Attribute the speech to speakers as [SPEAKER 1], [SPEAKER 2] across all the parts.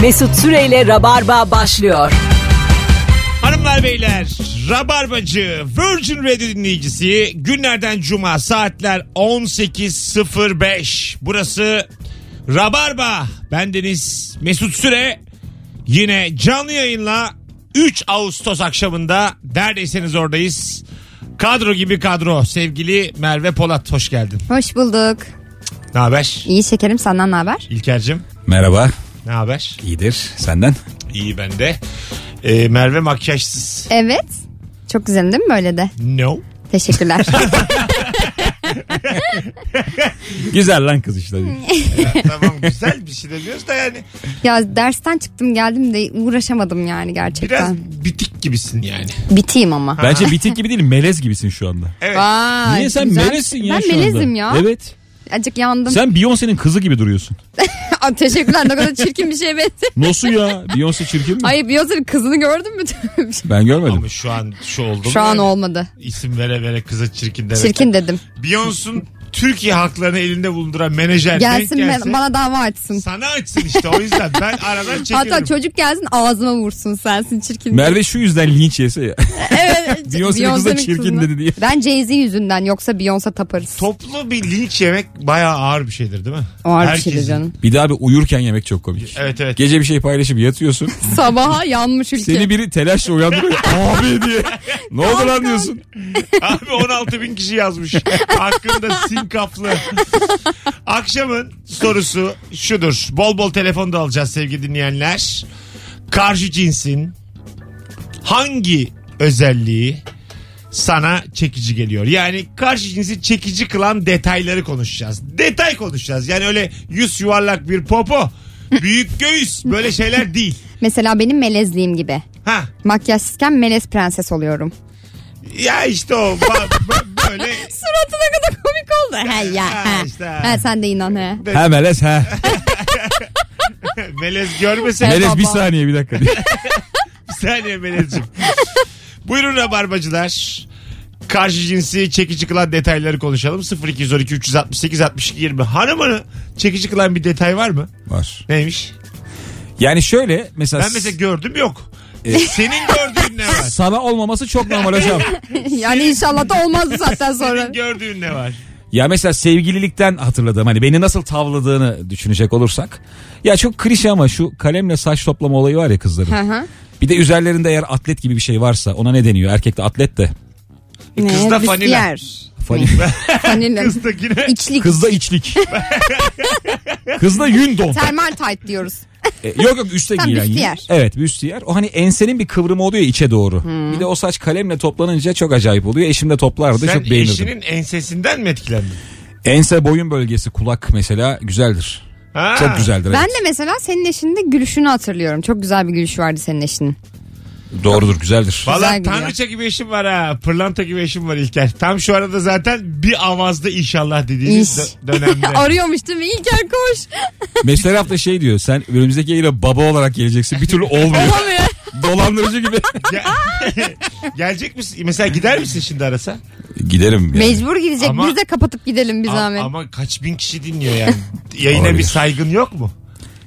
[SPEAKER 1] Mesut Süreyle Rabarba başlıyor.
[SPEAKER 2] Hanımlar beyler Rabarbacı Virgin Radio dinleyicisi günlerden cuma saatler 18.05 burası Rabarba bendeniz Mesut Süre yine canlı yayınla 3 Ağustos akşamında neredeyseniz oradayız kadro gibi kadro sevgili Merve Polat hoş geldin
[SPEAKER 3] Hoş bulduk.
[SPEAKER 2] ne haber
[SPEAKER 3] İyi şekerim senden ne haber?
[SPEAKER 2] İlker'cim
[SPEAKER 4] Merhaba.
[SPEAKER 2] ne haber
[SPEAKER 4] iyidir Senden?
[SPEAKER 2] iyi bende Ee, Merve makyajsız
[SPEAKER 3] Evet. Çok güzelim değil mi böyle de?
[SPEAKER 2] no
[SPEAKER 3] Teşekkürler.
[SPEAKER 4] Güzel lan kız işte.
[SPEAKER 2] tamam güzel bir şey demiyoruz da yani
[SPEAKER 3] ya dersten çıktım geldim de uğraşamadım
[SPEAKER 2] Biraz
[SPEAKER 3] yani gerçekten.
[SPEAKER 2] bitik gibisin yani.
[SPEAKER 3] Biteyim ama.
[SPEAKER 4] Bence bitik gibi değil melez gibisin şu anda.
[SPEAKER 2] Evet.
[SPEAKER 3] Vay,
[SPEAKER 4] Niye sen
[SPEAKER 3] güzel.
[SPEAKER 4] melezsin ya
[SPEAKER 3] Ben
[SPEAKER 4] şu anda?
[SPEAKER 3] melezim ya.
[SPEAKER 4] Evet.
[SPEAKER 3] Acık yandım.
[SPEAKER 4] Sen Beyoncé'nin kızı gibi duruyorsun.
[SPEAKER 3] Aa, Teşekkürler ne kadar çirkin bir şey benziyor.
[SPEAKER 4] Nasıl ya? Beyoncé çirkin mi?
[SPEAKER 3] Ay Beyoncé'nin kızını gördün mü?
[SPEAKER 4] Ben görmedim.
[SPEAKER 2] Ama şu an şu oldu.
[SPEAKER 3] Şu an
[SPEAKER 2] mu?
[SPEAKER 3] olmadı.
[SPEAKER 2] İsim vere vere kıza çirkin demek.
[SPEAKER 3] Çirkin dedim.
[SPEAKER 2] Beyoncé'un Türkiye halklarını elinde bulunduran menajer
[SPEAKER 3] Gelsin
[SPEAKER 2] denk
[SPEAKER 3] ben-
[SPEAKER 2] gelse,
[SPEAKER 3] bana dava açsın.
[SPEAKER 2] sana açsın işte o yüzden ben aradan çekerim.
[SPEAKER 3] Hatta çocuk gelsin ağzıma vursun sensin çirkin. diye.
[SPEAKER 4] Merve şu yüzden linç yese ya.
[SPEAKER 3] evet.
[SPEAKER 4] Beyoncé'nin kızı da çirkin
[SPEAKER 3] kızını.
[SPEAKER 4] dedi diye.
[SPEAKER 3] Ben Jay-Z yüzünden yoksa Beyoncé taparız.
[SPEAKER 2] Toplu bir linç yemek bayağı ağır bir şeydir değil mi?
[SPEAKER 3] Ağır bir
[SPEAKER 2] Herkesin-
[SPEAKER 3] şeydi şey canım.
[SPEAKER 4] Bir daha bir uyurken yemek çok komik.
[SPEAKER 2] Evet evet.
[SPEAKER 4] Gece bir şey paylaşıp yatıyorsun.
[SPEAKER 3] Sabaha yanmış ülke.
[SPEAKER 4] Seni biri telaşla uyandırıyor. Abi diye. Ne oldu lan diyorsun.
[SPEAKER 2] Abi 16 bin kişi yazmış. Hakkında sinkaflı. Akşamın sorusu şudur. Bol bol telefon da alacağız sevgili dinleyenler. Karşı cinsin hangi özelliği sana çekici geliyor? Yani karşı cinsi çekici kılan detayları konuşacağız. Detay konuşacağız. Yani öyle yüz yuvarlak bir popo, büyük göğüs böyle şeyler değil.
[SPEAKER 3] Mesela benim melezliğim gibi.
[SPEAKER 2] Ha
[SPEAKER 3] Makyajsızken melez prenses oluyorum.
[SPEAKER 2] ya işte o ba- ba- böyle
[SPEAKER 3] Suratı ne kadar komik oldu. He ya
[SPEAKER 2] Ha,
[SPEAKER 3] he.
[SPEAKER 2] işte.
[SPEAKER 3] He, sen de inan he.
[SPEAKER 4] Ha melez ha.
[SPEAKER 2] melez görmese
[SPEAKER 4] melez bir
[SPEAKER 3] baba.
[SPEAKER 4] saniye bir dakika diye.
[SPEAKER 2] saniye Melez'cim. Buyurun rabarbacılar. Karşı cinsi çekici kılan detayları konuşalım. 0212 368 62 20. Hanımını çekici kılan bir detay var mı?
[SPEAKER 4] Var.
[SPEAKER 2] Neymiş?
[SPEAKER 4] Yani şöyle mesela.
[SPEAKER 2] Ben mesela gördüm yok. Senin gördüğün ne var?
[SPEAKER 4] sana olmaması çok normal hocam.
[SPEAKER 3] yani
[SPEAKER 2] şey-
[SPEAKER 3] inşallah da olmaz bu saatten sonra.
[SPEAKER 2] Senin gördüğün ne var?
[SPEAKER 4] Ya mesela sevgililikten hatırladığım hani beni nasıl tavladığını düşünecek olursak. Ya çok klişe ama şu kalemle saç toplama olayı var ya kızların.
[SPEAKER 3] Hı hı.
[SPEAKER 4] Bir de üzerlerinde eğer atlet gibi bir şey varsa ona ne deniyor? Erkekte atlet de.
[SPEAKER 2] E, kız da
[SPEAKER 3] Ne?
[SPEAKER 2] fanila.
[SPEAKER 3] Viskiyer.
[SPEAKER 4] Fani-
[SPEAKER 3] Fanila.
[SPEAKER 2] Kızdakine
[SPEAKER 3] İçlik.
[SPEAKER 4] Kızda içlik. Kızda yün don.
[SPEAKER 3] Termal tight diyoruz.
[SPEAKER 4] E, yok yok üstte
[SPEAKER 3] Tam
[SPEAKER 4] giyilen. yün.
[SPEAKER 3] büstiyer.
[SPEAKER 4] Evet büstiyer. O hani ensenin bir kıvrımı oluyor içe doğru. Bir de o saç kalemle toplanınca çok acayip oluyor. Eşim de toplardı
[SPEAKER 2] sen
[SPEAKER 4] çok beğenirdim.
[SPEAKER 2] eşinin ensesinden mi etkilendin?
[SPEAKER 4] Ense boyun bölgesi kulak mesela güzeldir.
[SPEAKER 2] Ha.
[SPEAKER 4] Çok güzeldir.
[SPEAKER 3] Ben
[SPEAKER 4] evet.
[SPEAKER 3] de mesela senin eşinde gülüşünü hatırlıyorum. Çok güzel bir gülüşü vardı senin eşinin.
[SPEAKER 4] Doğrudur güzeldir.
[SPEAKER 2] Valla
[SPEAKER 3] Güzel gidiyor.
[SPEAKER 2] tanrıça gibi eşim var ha. Pırlanta gibi eşim var İlker. Tam şu arada zaten bir avazda inşallah dediğiniz
[SPEAKER 3] İş.
[SPEAKER 2] dö- dönemde.
[SPEAKER 3] Arıyormuş değil mi? İlker koş.
[SPEAKER 4] Mesut her hafta şey diyor sen önümüzdeki yayına baba olarak geleceksin bir türlü olmuyor.
[SPEAKER 3] Olamıyor.
[SPEAKER 4] Dolandırıcı gibi.
[SPEAKER 2] Ge- Gelecek misin? Mesela gider misin şimdi arasa?
[SPEAKER 4] Giderim yani.
[SPEAKER 3] Mecbur gidecek.
[SPEAKER 2] Ama-
[SPEAKER 3] Biz de kapatıp gidelim bir
[SPEAKER 2] A-
[SPEAKER 3] zahmet.
[SPEAKER 2] ama kaç bin kişi dinliyor yani. Yayına
[SPEAKER 4] Olabilir.
[SPEAKER 2] bir saygın yok mu?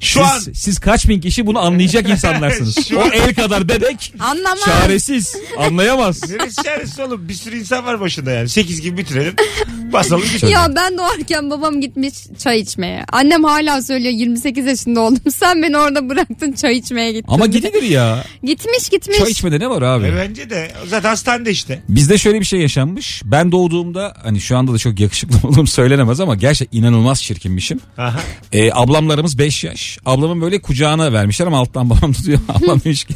[SPEAKER 2] Şu an
[SPEAKER 4] siz, siz kaç bin kişi bunu anlayacak insanlarsınız.
[SPEAKER 2] Şu
[SPEAKER 4] o
[SPEAKER 2] an-
[SPEAKER 4] el kadar bebek
[SPEAKER 3] Anlamaz.
[SPEAKER 4] çaresiz anlayamaz.
[SPEAKER 2] neresi çaresi oğlum? Bir sürü insan var başında yani. 8 gibi bitirelim. Basalım bitirelim.
[SPEAKER 3] Ya ben doğarken babam gitmiş çay içmeye. Annem hala söylüyor 28 yaşında oldum. Sen beni orada bıraktın çay içmeye gittin.
[SPEAKER 4] Ama
[SPEAKER 3] diye.
[SPEAKER 4] gidilir ya.
[SPEAKER 3] Gitmiş gitmiş.
[SPEAKER 4] Çay içmede ne var abi?
[SPEAKER 2] E bence de. Zaten hastanede işte.
[SPEAKER 4] Bizde şöyle bir şey yaşanmış. Ben doğduğumda hani şu anda da çok yakışıklı olduğum söylenemez ama gerçekten inanılmaz çirkinmişim.
[SPEAKER 2] Aha.
[SPEAKER 4] E, ablamlarımız 5 yaş. Ablamın böyle kucağına vermişler ama alttan babam tutuyor. Ablam demiş ki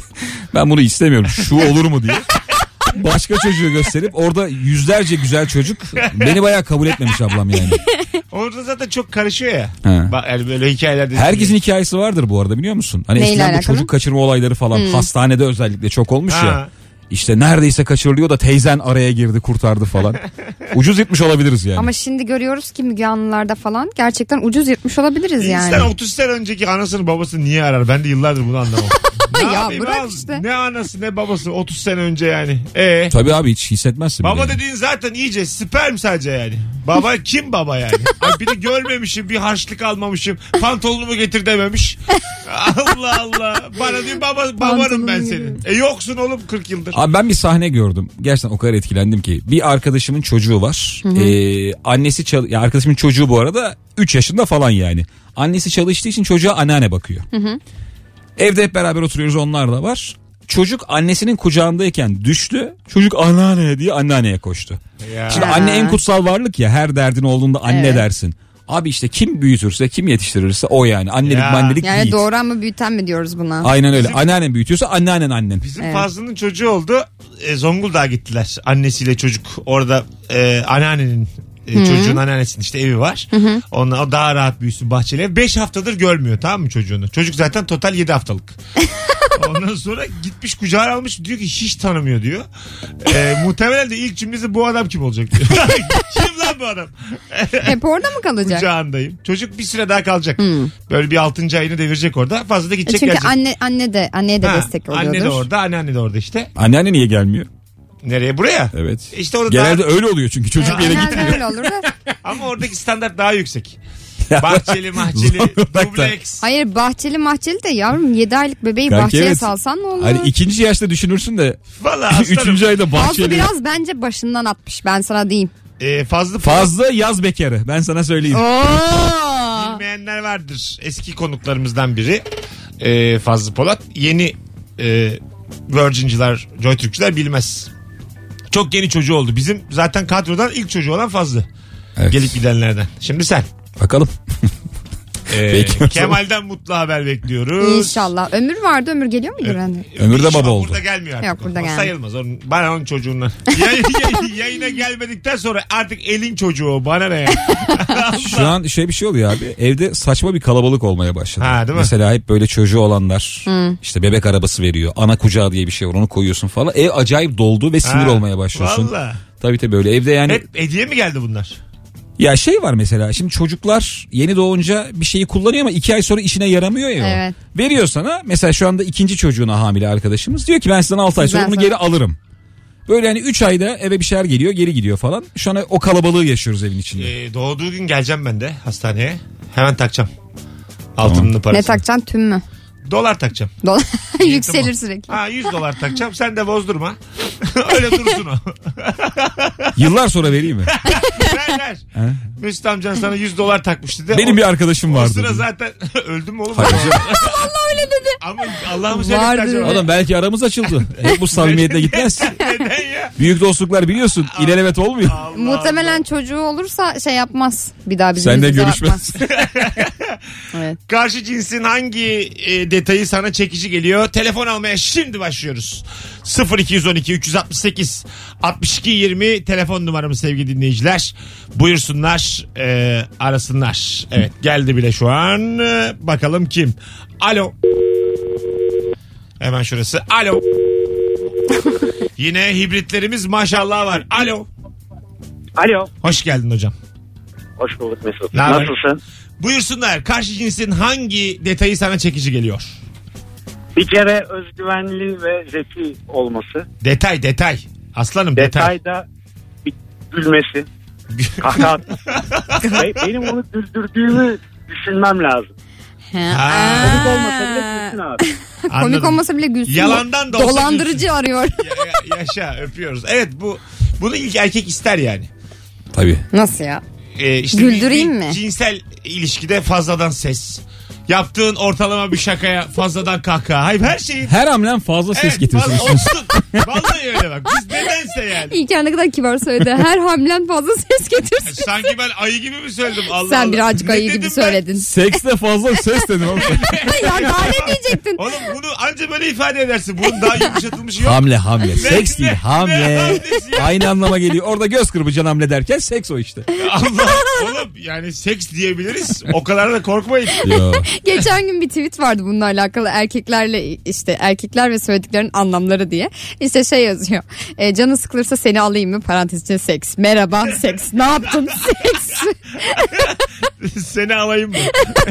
[SPEAKER 4] ben bunu istemiyorum. Şu olur mu diye. Başka çocuğu gösterip orada yüzlerce güzel çocuk beni bayağı kabul etmemiş ablam yani.
[SPEAKER 2] Orada zaten çok karışıyor ya.
[SPEAKER 4] Ha.
[SPEAKER 2] Bak yani böyle hikayelerde.
[SPEAKER 4] Herkesin hikayesi vardır bu arada biliyor musun? Hani
[SPEAKER 3] Neyle
[SPEAKER 4] eskiden bu
[SPEAKER 3] alakalı? Hmm.
[SPEAKER 4] çocuk kaçırma olayları falan hastanede özellikle çok olmuş
[SPEAKER 2] Ha.
[SPEAKER 4] ya. İşte neredeyse kaçırılıyor da teyzen araya girdi kurtardı falan. Ucuz yırtmış olabiliriz yani.
[SPEAKER 3] Ama şimdi görüyoruz ki Müge Anlılar'da falan gerçekten ucuz yırtmış olabiliriz
[SPEAKER 2] İnsan
[SPEAKER 3] yani.
[SPEAKER 2] 30 sene önceki anasını babasını niye arar? Ben de yıllardır bunu anlamam. Ne
[SPEAKER 3] ya
[SPEAKER 2] yapayım
[SPEAKER 3] bırak
[SPEAKER 2] abi?
[SPEAKER 3] işte.
[SPEAKER 2] Ne anası ne babası 30 sene önce yani. Ee,
[SPEAKER 4] Tabii abi hiç hissetmezsin.
[SPEAKER 2] baba
[SPEAKER 4] bile.
[SPEAKER 2] dediğin zaten iyice sperm sadece yani. Baba kim baba yani? Ay bir de görmemişim bir harçlık almamışım. Pantolonumu getir dememiş. Allah Allah. Bana diyor baba, babanım ben
[SPEAKER 3] Pantolonu
[SPEAKER 2] senin. E yoksun oğlum 40 yıldır.
[SPEAKER 4] Abi ben bir sahne gördüm. Gerçekten o kadar etkilendim ki. Bir arkadaşımın çocuğu var. Ee, annesi çal- ya arkadaşımın çocuğu bu arada 3 yaşında falan yani. Annesi çalıştığı için çocuğa anneanne bakıyor. Evde hep beraber oturuyoruz onlar da var. Çocuk annesinin kucağındayken düştü. Çocuk anneanne diye anneanneye koştu.
[SPEAKER 2] Ya.
[SPEAKER 4] Şimdi
[SPEAKER 3] Ha.
[SPEAKER 4] anne en kutsal varlık ya her derdin olduğunda anne
[SPEAKER 3] Evet.
[SPEAKER 4] dersin. Abi işte kim büyütürse kim yetiştirirse o yani. Annelik
[SPEAKER 2] Ya.
[SPEAKER 4] mannelik
[SPEAKER 3] Yani
[SPEAKER 4] değil.
[SPEAKER 3] doğuran mı büyüten mi diyoruz buna?
[SPEAKER 4] Aynen öyle. Anneannen büyütüyorsa anneannen annen.
[SPEAKER 2] Bizim
[SPEAKER 3] Evet.
[SPEAKER 2] Fazlı'nın çocuğu oldu. E, Zonguldak'a gittiler. Annesiyle çocuk. Orada e, anneannenin e, çocuğun anneannesinin işte evi var. Onunla, o daha rahat büyüsün bahçeli ev. 5 haftadır görmüyor tamam mı çocuğunu? Çocuk zaten total 7 haftalık. Ondan sonra gitmiş kucağına almış diyor ki hiç tanımıyor diyor. E, muhtemelen de ilk cümlesi bu adam kim olacak diyor. kim lan bu adam?
[SPEAKER 3] Hep orada mı kalacak?
[SPEAKER 2] Kucağındayım. Çocuk bir süre daha kalacak. Böyle bir 6. ayını devirecek orada. Fazla da
[SPEAKER 3] E
[SPEAKER 2] gidecek
[SPEAKER 3] çünkü
[SPEAKER 2] gelecek.
[SPEAKER 3] anne anne de anneye de
[SPEAKER 2] Ha,
[SPEAKER 3] destek oluyordur.
[SPEAKER 2] Anne de orada, anneanne de orada işte.
[SPEAKER 4] Anneanne niye gelmiyor?
[SPEAKER 2] Nereye? Buraya.
[SPEAKER 4] Evet.
[SPEAKER 2] İşte orada
[SPEAKER 4] Genelde
[SPEAKER 2] daha-
[SPEAKER 4] öyle oluyor çünkü çocuk bir yere
[SPEAKER 3] Genelde
[SPEAKER 4] gitmiyor.
[SPEAKER 3] E, öyle olur da.
[SPEAKER 2] Ama oradaki standart daha yüksek. Bahçeli, mahçeli,
[SPEAKER 4] Zonguldak'ta.
[SPEAKER 2] dubleks.
[SPEAKER 3] Hayır bahçeli mahçeli de yavrum 7 aylık bebeği
[SPEAKER 4] Kanka
[SPEAKER 3] bahçeye
[SPEAKER 4] evet.
[SPEAKER 3] salsan ne olur?
[SPEAKER 4] Hani ikinci yaşta düşünürsün de
[SPEAKER 2] Valla aslanım.
[SPEAKER 4] üçüncü ayda
[SPEAKER 3] Fazla
[SPEAKER 4] bahçeli.
[SPEAKER 3] biraz bence başından atmış ben sana diyeyim.
[SPEAKER 2] Ee, fazla
[SPEAKER 4] Fazla yaz bekarı ben sana söyleyeyim.
[SPEAKER 3] Oo.
[SPEAKER 2] bilmeyenler vardır. Eski konuklarımızdan biri. Ee, Fazlı Polat. Yeni e, Virgin'cılar, Joy Türkçüler bilmez. Çok yeni çocuğu oldu. Bizim zaten kadrodan ilk çocuğu olan Fazlı.
[SPEAKER 4] Evet.
[SPEAKER 2] Gelip gidenlerden. Şimdi sen.
[SPEAKER 4] Bakalım.
[SPEAKER 2] Ee,
[SPEAKER 4] Peki.
[SPEAKER 2] Kemal'den mutlu haber bekliyoruz.
[SPEAKER 3] İnşallah. Ömür vardı ömür geliyor muydu hani?
[SPEAKER 4] Ömür de
[SPEAKER 2] Şu an
[SPEAKER 4] baba oldu.
[SPEAKER 2] Burada gelmiyor artık.
[SPEAKER 3] Yok, burada
[SPEAKER 2] O
[SPEAKER 3] gelmiyor.
[SPEAKER 2] Sayılmaz. Onun, bana onun çocuğundan. Yay- yay- yayına gelmedikten sonra artık elin çocuğu o. Bana ne ya?
[SPEAKER 4] Şu an şey bir şey oluyor abi. Evde saçma bir kalabalık olmaya başladı.
[SPEAKER 2] Ha, değil mi?
[SPEAKER 4] Mesela hep böyle çocuğu olanlar işte bebek arabası veriyor. Ana kucağı diye bir şey var onu koyuyorsun falan. Ev acayip doldu ve sinir
[SPEAKER 2] Ha,
[SPEAKER 4] olmaya başlıyorsun. Hani-
[SPEAKER 2] Valla.
[SPEAKER 4] Tabii tabii böyle evde yani.
[SPEAKER 2] Hep hediye mi geldi bunlar?
[SPEAKER 4] Ya şey var mesela şimdi çocuklar yeni doğunca bir şeyi kullanıyor ama iki ay sonra işine yaramıyor ya. o.
[SPEAKER 3] Evet.
[SPEAKER 4] Veriyor sana mesela şu anda ikinci çocuğuna hamile arkadaşımız diyor ki ben sizden 6 ay sonra
[SPEAKER 3] Sizden
[SPEAKER 4] bunu
[SPEAKER 3] sonra.
[SPEAKER 4] geri alırım. Böyle hani 3 ayda eve bir şeyler geliyor geri gidiyor falan. Şu an o kalabalığı yaşıyoruz evin içinde.
[SPEAKER 2] Ee, doğduğu gün geleceğim ben de hastaneye. Hemen takacağım. Altınını
[SPEAKER 3] Ne
[SPEAKER 2] parasını.
[SPEAKER 3] takacaksın tüm mü?
[SPEAKER 2] dolar takacağım.
[SPEAKER 3] Dolar
[SPEAKER 2] Tamam.
[SPEAKER 3] yükselir sürekli.
[SPEAKER 2] Ha 100 dolar takacağım. Sen de bozdurma. Öyle dursun o.
[SPEAKER 4] Yıllar sonra vereyim mi?
[SPEAKER 2] ver ver. Mesut amcan sana 100 dolar takmıştı de.
[SPEAKER 4] Benim
[SPEAKER 2] O-
[SPEAKER 4] bir arkadaşım
[SPEAKER 2] o
[SPEAKER 4] vardı.
[SPEAKER 2] sıra
[SPEAKER 4] dedi.
[SPEAKER 2] zaten öldüm mü oğlum?
[SPEAKER 4] Hayır canım.
[SPEAKER 2] Ama Allah'ımı söyledim.
[SPEAKER 3] Vardı.
[SPEAKER 2] acaba?
[SPEAKER 4] Adam belki aramız açıldı. Hep bu samimiyetle gitmez.
[SPEAKER 2] Neden ya?
[SPEAKER 4] Büyük dostluklar biliyorsun ilelebet olmuyor.
[SPEAKER 2] Allah
[SPEAKER 3] Muhtemelen çocuğu olursa şey yapmaz. Bir daha bizim
[SPEAKER 4] Seninle
[SPEAKER 3] bize
[SPEAKER 4] görüşmez.
[SPEAKER 3] yapmaz. evet.
[SPEAKER 2] Karşı cinsin hangi e, detayı sana çekici geliyor? Telefon almaya şimdi başlıyoruz. 0212 368 62 20 telefon numaramı sevgili dinleyiciler. Buyursunlar, e, arasınlar. Evet, geldi bile şu an. E, Bakalım kim? Alo. Hemen şurası. Alo. Yine hibritlerimiz maşallah var. Alo.
[SPEAKER 5] Alo.
[SPEAKER 2] Hoş geldin hocam.
[SPEAKER 5] Hoş bulduk Mesut.
[SPEAKER 2] Ne haber?
[SPEAKER 5] Nasılsın?
[SPEAKER 2] Buyursunlar. Karşı cinsin hangi detayı sana çekici geliyor?
[SPEAKER 5] Bir kere özgüvenli ve zeki olması.
[SPEAKER 2] Detay detay. Aslanım detay.
[SPEAKER 5] Detayda bir gülmesi. Kahkaha atması. Ve benim onu güldürdüğümü düşünmem lazım.
[SPEAKER 3] He.
[SPEAKER 2] Ha.
[SPEAKER 5] Komik olmasa bile gülsün abi.
[SPEAKER 3] Komik
[SPEAKER 2] Anladım.
[SPEAKER 3] olmasa bile gülsün.
[SPEAKER 2] Yalandan da olsa
[SPEAKER 3] Dolandırıcı
[SPEAKER 2] gülsün.
[SPEAKER 3] arıyor.
[SPEAKER 2] Ya- ya- yaşa öpüyoruz. Evet bu bunu ilk erkek ister yani.
[SPEAKER 4] Tabii.
[SPEAKER 3] Nasıl ya?
[SPEAKER 2] Ee, işte
[SPEAKER 3] Güldüreyim
[SPEAKER 2] bir- bir
[SPEAKER 3] mi?
[SPEAKER 2] Cinsel ilişkide fazladan ses. Yaptığın ortalama bir şakaya fazladan kahkaha. Hayır her şeyi
[SPEAKER 4] Her hamlen fazla ses
[SPEAKER 2] Evet,
[SPEAKER 4] getirsin.
[SPEAKER 2] vallahi olsun. Vallahi öyle bak. Biz nedense yani.
[SPEAKER 3] İlker ne kadar kibar söyledi. Her hamlen fazla ses getirsin.
[SPEAKER 2] Sanki ben ayı gibi mi söyledim? Allah
[SPEAKER 3] Sen
[SPEAKER 2] Allah.
[SPEAKER 3] birazcık
[SPEAKER 2] Ne
[SPEAKER 3] ayı
[SPEAKER 2] dedim
[SPEAKER 3] gibi
[SPEAKER 2] ben?
[SPEAKER 3] söyledin.
[SPEAKER 4] Sekste fazla ses dedim ama.
[SPEAKER 3] ya daha ne diyecektin?
[SPEAKER 2] Oğlum bunu anca böyle ifade edersin. Bunun daha yumuşatılmış yok.
[SPEAKER 4] hamle hamle.
[SPEAKER 2] Seks
[SPEAKER 4] Seks
[SPEAKER 2] değil,
[SPEAKER 4] değil
[SPEAKER 2] ne- hamle. ne
[SPEAKER 4] hamle.
[SPEAKER 2] hamlesi ya?
[SPEAKER 4] Aynı anlama geliyor. Orada göz kırpıcan hamle derken seks o işte.
[SPEAKER 2] Allah oğlum yani seks diyebiliriz. O kadar da korkmayın.
[SPEAKER 3] Geçen gün bir tweet vardı bununla alakalı erkeklerle işte erkekler ve söylediklerin anlamları diye. İşte şey yazıyor. E, canı sıkılırsa seni alayım mı? Parantez içinde seks. Merhaba seks. Ne yaptın? Seks.
[SPEAKER 2] Seni alayım mı?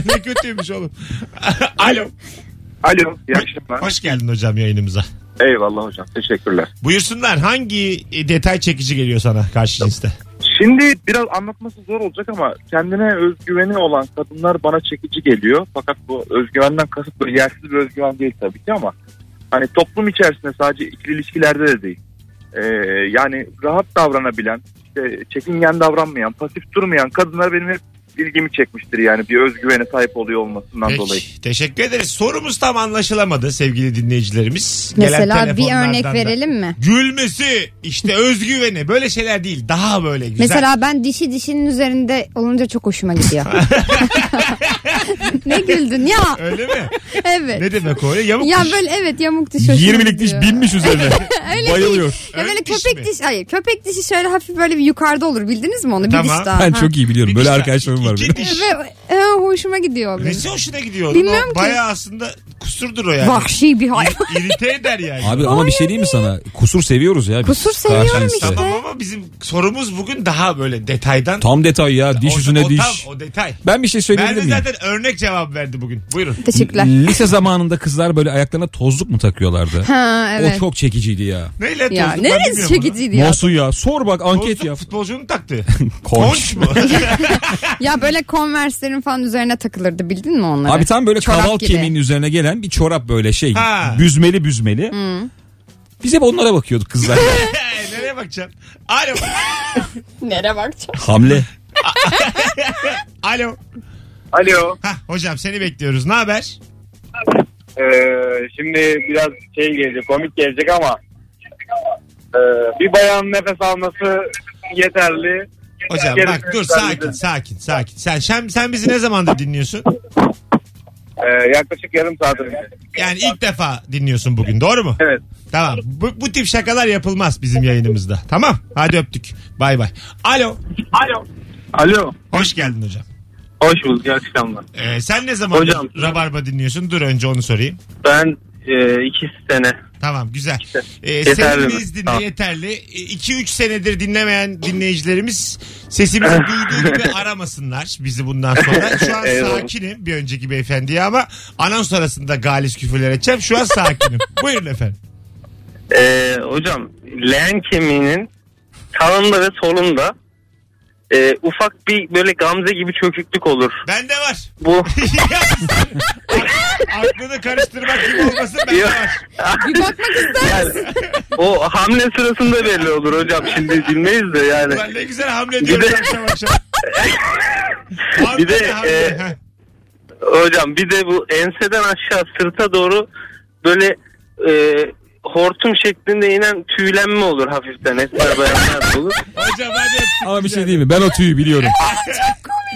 [SPEAKER 2] ne kötüymüş oğlum. Alo.
[SPEAKER 5] Alo iyi akşamlar.
[SPEAKER 2] Hoş geldin hocam yayınımıza.
[SPEAKER 5] Eyvallah hocam teşekkürler.
[SPEAKER 2] Buyursunlar hangi e, detay çekici geliyor sana karşı cinste?
[SPEAKER 5] Şimdi biraz anlatması zor olacak ama kendine özgüveni olan kadınlar bana çekici geliyor. Fakat bu özgüvenden kasıt böyle yersiz bir özgüven değil tabii ki ama hani toplum içerisinde sadece ikili ilişkilerde de değil. Ee, yani rahat davranabilen, işte çekingen davranmayan, pasif durmayan kadınlar benim hep ilgimi çekmiştir yani bir özgüvene sahip oluyor olmasından
[SPEAKER 2] Peki,
[SPEAKER 5] dolayı.
[SPEAKER 2] Teşekkür ederiz. Sorumuz tam anlaşılamadı sevgili dinleyicilerimiz. Gelen
[SPEAKER 3] Mesela bir
[SPEAKER 2] telefonlardan
[SPEAKER 3] örnek
[SPEAKER 2] da-
[SPEAKER 3] verelim mi?
[SPEAKER 2] Gülmesi işte özgüveni böyle şeyler değil daha böyle güzel.
[SPEAKER 3] Mesela ben dişi dişinin üzerinde olunca çok hoşuma gidiyor. ne güldün ya?
[SPEAKER 2] Öyle mi?
[SPEAKER 3] Evet.
[SPEAKER 2] Ne demek o öyle? Yamuk
[SPEAKER 3] Ya
[SPEAKER 2] kuş.
[SPEAKER 3] böyle evet yamuk diş hoşuma
[SPEAKER 4] 20'lik diş
[SPEAKER 3] gidiyor.
[SPEAKER 4] binmiş üzerine.
[SPEAKER 3] Öyle
[SPEAKER 4] Bayılıyor.
[SPEAKER 3] değil. Ya
[SPEAKER 2] Ön
[SPEAKER 3] böyle
[SPEAKER 2] diş
[SPEAKER 3] köpek
[SPEAKER 2] mi?
[SPEAKER 3] dişi hayır köpek dişi şöyle hafif böyle bir yukarıda olur bildiniz mi onu bir
[SPEAKER 2] Tamam.
[SPEAKER 3] diş daha.
[SPEAKER 4] Ben
[SPEAKER 3] ha.
[SPEAKER 4] çok iyi biliyorum.
[SPEAKER 2] Bir
[SPEAKER 4] Böyle
[SPEAKER 2] diş-
[SPEAKER 4] arkadaşlarım var.
[SPEAKER 2] iki
[SPEAKER 4] benim.
[SPEAKER 2] diş.
[SPEAKER 3] Ve e, hoşuma gidiyor benim.
[SPEAKER 2] Nesi hoşuna gidiyor oğlum?
[SPEAKER 3] Bilmiyorum
[SPEAKER 2] O
[SPEAKER 3] ki.
[SPEAKER 2] Bayağı aslında kusurdur o yani.
[SPEAKER 3] Vahşi bir hayvan.
[SPEAKER 2] İri- İrite eder yani.
[SPEAKER 4] Abi ama bir şey diyeyim mi sana? Kusur seviyoruz ya. biz.
[SPEAKER 3] Kusur seviyorum
[SPEAKER 4] Karşıyız.
[SPEAKER 3] işte.
[SPEAKER 2] Tamam ama bizim sorumuz bugün daha böyle detaydan.
[SPEAKER 4] Tam detay ya. Diş
[SPEAKER 2] O-
[SPEAKER 4] yüzüne
[SPEAKER 2] o
[SPEAKER 4] diş.
[SPEAKER 2] Tam, o detay.
[SPEAKER 4] Ben bir şey söyleyebilir
[SPEAKER 2] Merve
[SPEAKER 4] miyim?
[SPEAKER 2] zaten örnek cevap verdi bugün. Buyurun.
[SPEAKER 3] Teşekkürler.
[SPEAKER 4] Lise zamanında kızlar böyle ayaklarına tozluk mu takıyorlardı?
[SPEAKER 3] Ha evet.
[SPEAKER 4] O çok çekiciydi ya.
[SPEAKER 2] Neyle
[SPEAKER 3] ya
[SPEAKER 2] tozduk ben
[SPEAKER 3] neresi
[SPEAKER 2] bilmiyorum
[SPEAKER 3] çekiciydi ya?
[SPEAKER 4] Nasıl ya? Sor bak
[SPEAKER 2] bunu.
[SPEAKER 4] anket
[SPEAKER 2] Tozduk
[SPEAKER 4] yap.
[SPEAKER 2] futbolcunun taktı.
[SPEAKER 4] Konç.
[SPEAKER 2] Konç mu?
[SPEAKER 3] Ya böyle konverslerin falan üzerine takılırdı bildin mi onları?
[SPEAKER 4] Abi tam böyle
[SPEAKER 3] Çorap
[SPEAKER 4] kaval
[SPEAKER 3] gibi.
[SPEAKER 4] kemiğinin üzerine gelen bir çorap böyle şey.
[SPEAKER 2] Ha.
[SPEAKER 4] Büzmeli büzmeli. Biz hep onlara bakıyorduk kızlar.
[SPEAKER 2] Nereye bakacaksın? Alo.
[SPEAKER 3] Nereye bakacağım?
[SPEAKER 4] Hamle.
[SPEAKER 2] Alo.
[SPEAKER 5] Alo.
[SPEAKER 2] Hah, hocam seni bekliyoruz. Ne haber?
[SPEAKER 5] Ee, şimdi biraz şey gelecek komik gelecek ama e, bir bayanın nefes alması yeterli.
[SPEAKER 2] Hocam
[SPEAKER 5] Gerisi
[SPEAKER 2] bak dur
[SPEAKER 5] ben
[SPEAKER 2] sakin
[SPEAKER 5] de-
[SPEAKER 2] sakin sakin. Sen, sen, sen bizi ne zamandır dinliyorsun?
[SPEAKER 5] Ee, yaklaşık yarım saat önce.
[SPEAKER 2] Yani ilk defa dinliyorsun bugün doğru mu?
[SPEAKER 5] Evet.
[SPEAKER 2] Tamam. Bu, bu tip şakalar yapılmaz bizim yayınımızda. Tamam. Hadi öptük. Bay bay. Alo.
[SPEAKER 5] Alo. Alo.
[SPEAKER 2] Hoş geldin hocam.
[SPEAKER 5] Hoş bulduk. iyi akşamlar.
[SPEAKER 2] Ee, sen ne zaman
[SPEAKER 5] Hocam.
[SPEAKER 2] Rabarba dinliyorsun? Dur önce onu sorayım.
[SPEAKER 5] Ben e, iki sene.
[SPEAKER 2] Tamam güzel. Ee,
[SPEAKER 5] Yeterli
[SPEAKER 2] sesimiz
[SPEAKER 5] mi?
[SPEAKER 2] dinle
[SPEAKER 5] Tamam.
[SPEAKER 2] yeterli. 2-3 senedir dinlemeyen dinleyicilerimiz sesimizi duyduğu gibi aramasınlar bizi bundan sonra. Şu an
[SPEAKER 5] Eyvallah.
[SPEAKER 2] sakinim bir önceki beyefendiye ama anons arasında galis küfürler edeceğim. Şu an sakinim. Buyurun efendim.
[SPEAKER 5] E, hocam leğen kemiğinin sağında ve solunda e, ufak bir böyle gamze gibi çöküklük olur.
[SPEAKER 2] Bende var.
[SPEAKER 5] Bu
[SPEAKER 2] Aklını karıştırmak gibi olmasın bende
[SPEAKER 5] Yok.
[SPEAKER 2] var.
[SPEAKER 3] Bir bakmak ister misin?
[SPEAKER 5] yani, o hamle sırasında belli olur hocam. Şimdi bilmeyiz de yani.
[SPEAKER 2] Ben ne güzel hamle diyorum
[SPEAKER 5] Bir de-
[SPEAKER 2] akşam akşam. Hamle
[SPEAKER 5] Bir de,
[SPEAKER 2] hamle.
[SPEAKER 5] e,
[SPEAKER 2] Heh.
[SPEAKER 5] Hocam bir de bu enseden aşağı sırta doğru böyle e, hortum şeklinde inen tüylenme olur hafiften. Esmer bayanlar olur.
[SPEAKER 2] Hocam hadi öptük.
[SPEAKER 4] Ama bir şey diyeyim mi? Ben o tüyü biliyorum.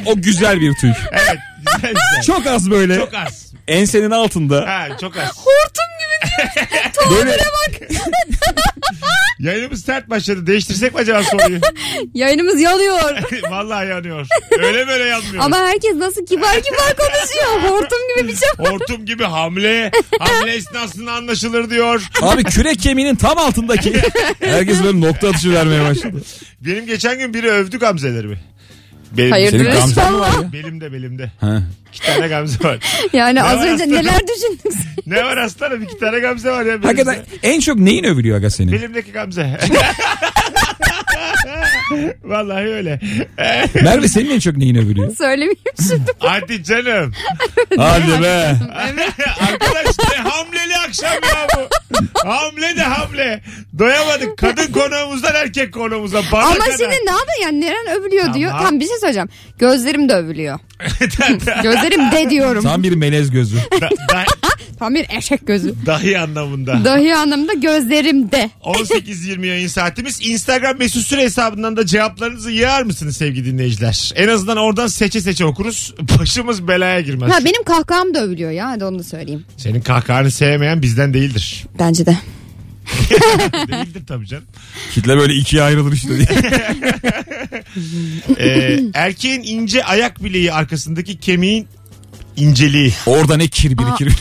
[SPEAKER 4] o güzel bir tüy.
[SPEAKER 2] Evet güzel güzel.
[SPEAKER 4] Çok az böyle.
[SPEAKER 2] Çok az.
[SPEAKER 4] Ensenin altında.
[SPEAKER 2] Ha, çok az.
[SPEAKER 4] böyle
[SPEAKER 2] Yayınımız sert başladı. Değiştirsek mi acaba soruyu?
[SPEAKER 3] Yayınımız yanıyor.
[SPEAKER 2] Vallahi yanıyor. Öyle böyle yanmıyor.
[SPEAKER 3] Ama herkes nasıl kibar kibar konuşuyor. Hortum gibi bir şey.
[SPEAKER 2] Hortum gibi hamle. Hamle esnasında anlaşılır diyor.
[SPEAKER 4] Abi kürek kemiğinin tam altındaki. Herkes böyle nokta atışı vermeye başladı.
[SPEAKER 2] Benim geçen gün biri övdü gamzelerimi. Benim,
[SPEAKER 3] Hayırdır
[SPEAKER 4] Senin gamzen mi var
[SPEAKER 3] inşallah.
[SPEAKER 4] ya?
[SPEAKER 2] Belimde belimde.
[SPEAKER 4] Ha.
[SPEAKER 2] İki tane gamze var.
[SPEAKER 3] Yani az
[SPEAKER 2] var
[SPEAKER 3] önce
[SPEAKER 2] aslında?
[SPEAKER 3] neler düşündünüz?
[SPEAKER 2] Ne var aslanım? İki tane gamze var ya. Belimde.
[SPEAKER 4] Hakikaten en çok neyin övülüyor aga senin?
[SPEAKER 2] Belimdeki gamze. Vallahi öyle.
[SPEAKER 4] Merve senin en çok neyin övülüyor?
[SPEAKER 3] Söylemeyeyim şimdi.
[SPEAKER 2] Hadi canım.
[SPEAKER 4] Hadi be.
[SPEAKER 2] Arkadaş ne hamleli akşam ya bu. Hamle de hamle. Doyamadık. Kadın konuğumuzdan erkek konuğumuza. Bana
[SPEAKER 3] Ama
[SPEAKER 2] kadar.
[SPEAKER 3] şimdi ne yapıyor yani neren övülüyor diyor.
[SPEAKER 2] Tamam.
[SPEAKER 3] Tam bir şey söyleyeceğim. Gözlerim de övülüyor. Gözlerim de diyorum.
[SPEAKER 4] Tam bir melez gözü.
[SPEAKER 2] Da- da-
[SPEAKER 3] Tam bir eşek gözü.
[SPEAKER 2] dahi anlamında.
[SPEAKER 3] Dahi anlamda gözlerim de.
[SPEAKER 2] 18-20 yayın saatimiz. Instagram mesut süre hesabından da cevaplarınızı yığar mısınız sevgili dinleyiciler? En azından oradan seçe seçe okuruz. Başımız belaya girmez.
[SPEAKER 3] Ha benim kahkaham da övülüyor ya hadi onu da söyleyeyim.
[SPEAKER 2] Senin kahkahanı sevmeyen bizden değildir.
[SPEAKER 3] Bence de.
[SPEAKER 2] değildir tabii canım.
[SPEAKER 4] Kitle böyle ikiye ayrılır işte diye.
[SPEAKER 2] Ee, erkeğin ince ayak bileği arkasındaki kemiğin inceliği.
[SPEAKER 4] Orada ne kir
[SPEAKER 3] Aa.
[SPEAKER 4] birikir.